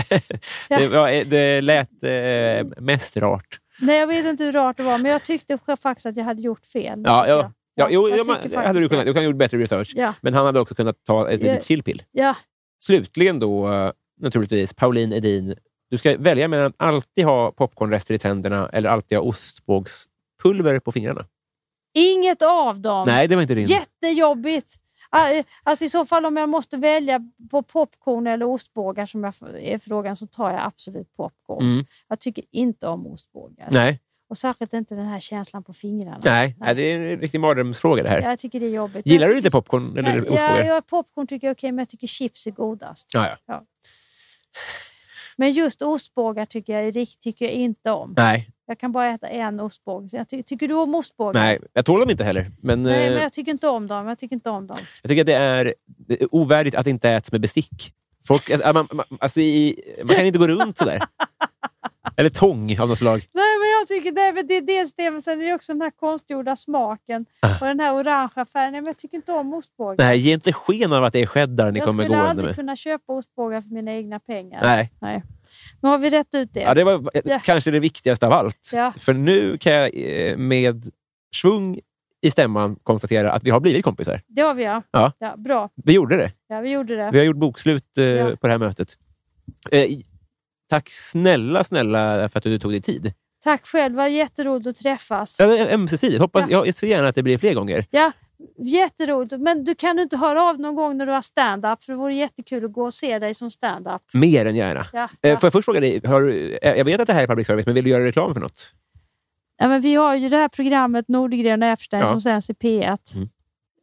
Speaker 2: det, var, det lät eh, mest rart.
Speaker 3: Nej, jag vet inte hur rart det var, men jag tyckte själv faktiskt att jag hade gjort fel.
Speaker 2: Ja, ja. Ja, jo,
Speaker 3: jag
Speaker 2: ja, man,
Speaker 3: tycker
Speaker 2: det
Speaker 3: faktiskt
Speaker 2: hade du
Speaker 3: det.
Speaker 2: kunnat. Du kan ha gjort bättre research.
Speaker 3: Ja,
Speaker 2: Men han hade också kunnat ta ett
Speaker 3: Ja.
Speaker 2: litet chillpill.
Speaker 3: ja,
Speaker 2: Slutligen då, eh, naturligtvis, Pauline Edin. Du ska välja mellan att alltid ha popcornrester i tänderna eller alltid ha ostbågspulver på fingrarna.
Speaker 3: inget av dem.
Speaker 2: Nej, det var inte din.
Speaker 3: Jättejobbigt. Ah, eh, Alltså i så fall om jag måste välja på popcorn eller ostbågar som jag, är frågan så tar jag absolut popcorn.
Speaker 2: Mm.
Speaker 3: Jag tycker inte om ostbågar.
Speaker 2: Nej,
Speaker 3: Och särskilt inte den här känslan på fingrarna.
Speaker 2: nej. nej, det är en riktig mardrömsfråga det här.
Speaker 3: Jag tycker det är jobbigt.
Speaker 2: Gillar
Speaker 3: jag
Speaker 2: du inte popcorn eller
Speaker 3: popcorn?
Speaker 2: ostbågar?
Speaker 3: Ja, ja, popcorn tycker jag är okej, men jag tycker chips är godast.
Speaker 2: Ja, ja.
Speaker 3: Men just ostbågar tycker jag, är rikt- tycker jag inte om.
Speaker 2: Nej,
Speaker 3: Jag kan bara äta en ostbåge. Så jag ty- tycker du om ostbågar?
Speaker 2: nej, jag tål dem inte heller. Men,
Speaker 3: Nej,
Speaker 2: eh,
Speaker 3: men jag tycker inte om dem. Jag tycker inte om dem.
Speaker 2: Jag tycker att det är, det är ovärdigt att det inte äts med bestick. Folk, att man, man, alltså i, man kan inte gå runt
Speaker 3: [laughs]
Speaker 2: sådär. Eller tång av något slag.
Speaker 3: Nej, men jag tycker nej, men det är dels det, men sen är det också den här konstgjorda smaken och den här orangea färgen. Nej, men jag tycker inte om ostbågar.
Speaker 2: Nej, ge inte sken av att det är cheddar ni
Speaker 3: jag
Speaker 2: kommer
Speaker 3: skulle
Speaker 2: gående
Speaker 3: aldrig
Speaker 2: med.
Speaker 3: kunna köpa ostbågar för mina egna pengar.
Speaker 2: Nej.
Speaker 3: Nu har vi rätt ut det.
Speaker 2: Ja, det var eh,
Speaker 3: Ja.
Speaker 2: kanske det viktigaste av allt.
Speaker 3: Ja.
Speaker 2: För nu kan jag eh, med svung i stämman konstatera att vi har blivit kompisar.
Speaker 3: Det har vi, ja.
Speaker 2: Ja.
Speaker 3: bra,
Speaker 2: Vi gjorde det.
Speaker 3: ja, vi gjorde det.
Speaker 2: Vi har gjort bokslut eh,
Speaker 3: Ja.
Speaker 2: på det här mötet. Eh, tack snälla, snälla för att du tog dig tid.
Speaker 3: Tack själv. Det var jätteroligt att träffas.
Speaker 2: Ja, men Ömsesidigt. Hoppas,
Speaker 3: Ja.
Speaker 2: Jag ser gärna att det blir fler gånger.
Speaker 3: Ja, jätteroligt. Men du kan du inte höra av någon gång när du har stand-up? För det vore jättekul att gå och se dig som stand-up.
Speaker 2: Mer än gärna.
Speaker 3: Ja,
Speaker 2: Eh,
Speaker 3: ja.
Speaker 2: Får jag först fråga dig, har, du- eh, jag vet att det här är public service, men vill du göra reklam för något?
Speaker 3: Ja, men vi har ju det här programmet Nordgren och Epstein
Speaker 2: Ja.
Speaker 3: som sänds i P1.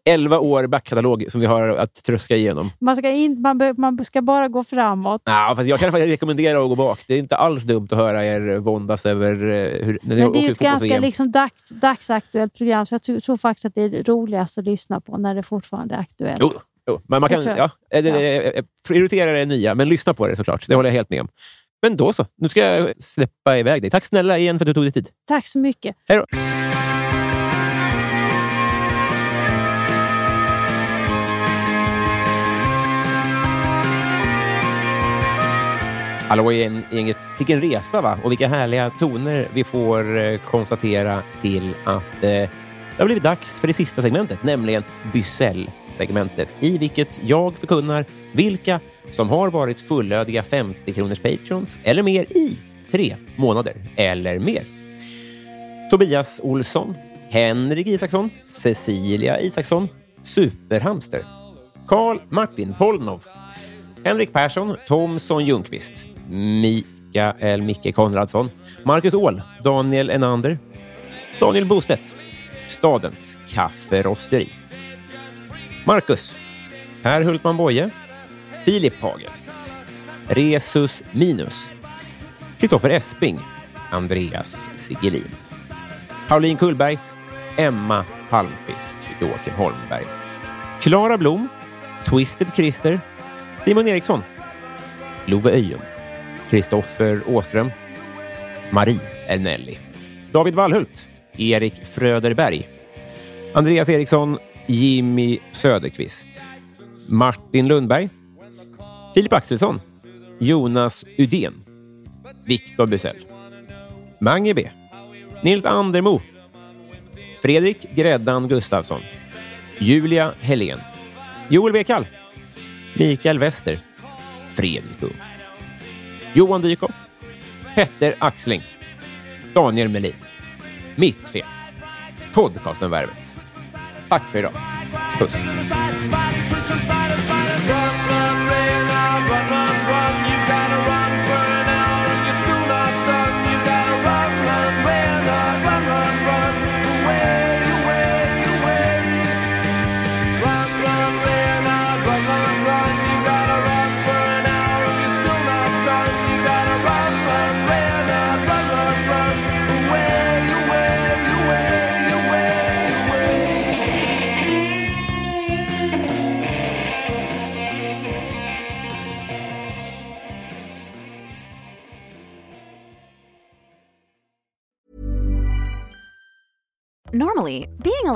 Speaker 2: 11 år backkatalog som vi har att tröska igenom.
Speaker 3: Man ska, in, man, be, man ska bara gå framåt.
Speaker 2: Ah, fast jag kan faktiskt rekommendera att gå bak. Det är inte alls dumt att höra er våndas över eh, hur... När ni
Speaker 3: Men det är
Speaker 2: åker
Speaker 3: ju ett
Speaker 2: fotbolls-VM.
Speaker 3: ganska liksom dag, dagsaktuellt program, så jag tror, tror faktiskt att det är roligast att lyssna på när det fortfarande är aktuellt.
Speaker 2: Jo, jo. Men man
Speaker 3: Det
Speaker 2: kan,
Speaker 3: tror
Speaker 2: ja,
Speaker 3: jag.
Speaker 2: eh, det, det- eh, prioritera det nya, men lyssna på det såklart. Det håller jag helt med om. Men då så. Nu ska jag släppa iväg dig. Tack snälla igen för att du tog dig tid.
Speaker 3: Tack så mycket.
Speaker 2: Hej då! Hallå igen, gänget. Vilken resa, va? Och vilka härliga toner vi får eh, konstatera till att eh, det har blivit dags för det sista segmentet, nämligen Bysell-segmentet, i vilket jag förkunnar vilka som har varit fullödiga 50-kronors patrons eller mer i tre månader eller mer. Tobias Olsson, Henrik Isaksson, Cecilia Isaksson, Superhamster, Karl Martin Polnov, Henrik Persson, Thomson Ljungqvist, Mikael Micke Konradsson, Marcus Åhl, Daniel Enander, Daniel Bostedt, Stadens Kafferosteri, Marcus, Per Hultman Boye, Filip Hagels, Resus Minus, Kristoffer Esping, Andreas Sigelin. Pauline Kullberg, Emma Palmqvist, Joakim Holmberg, Klara Blom, Twisted Christer, Simon Eriksson, Love Öjum, Kristoffer Åström, Marie Ernelli, David Wallhult, Erik Fröderberg, Andreas Eriksson, Jimmy Söderqvist, Martin Lundberg, Filip Axelsson, Jonas Udén, Viktor Bysell, Mange B, Nils Andermo, Fredrik Gräddan Gustafsson, Julia Helén, Joel Wekall, Mikael Wester, Fredrik Ung, Johan Dykhoff, Petter Axling, Daniel Melin. Mitt fel. Podcasten Värvet. Tack för idag. Puss.
Speaker 7: Normally, being a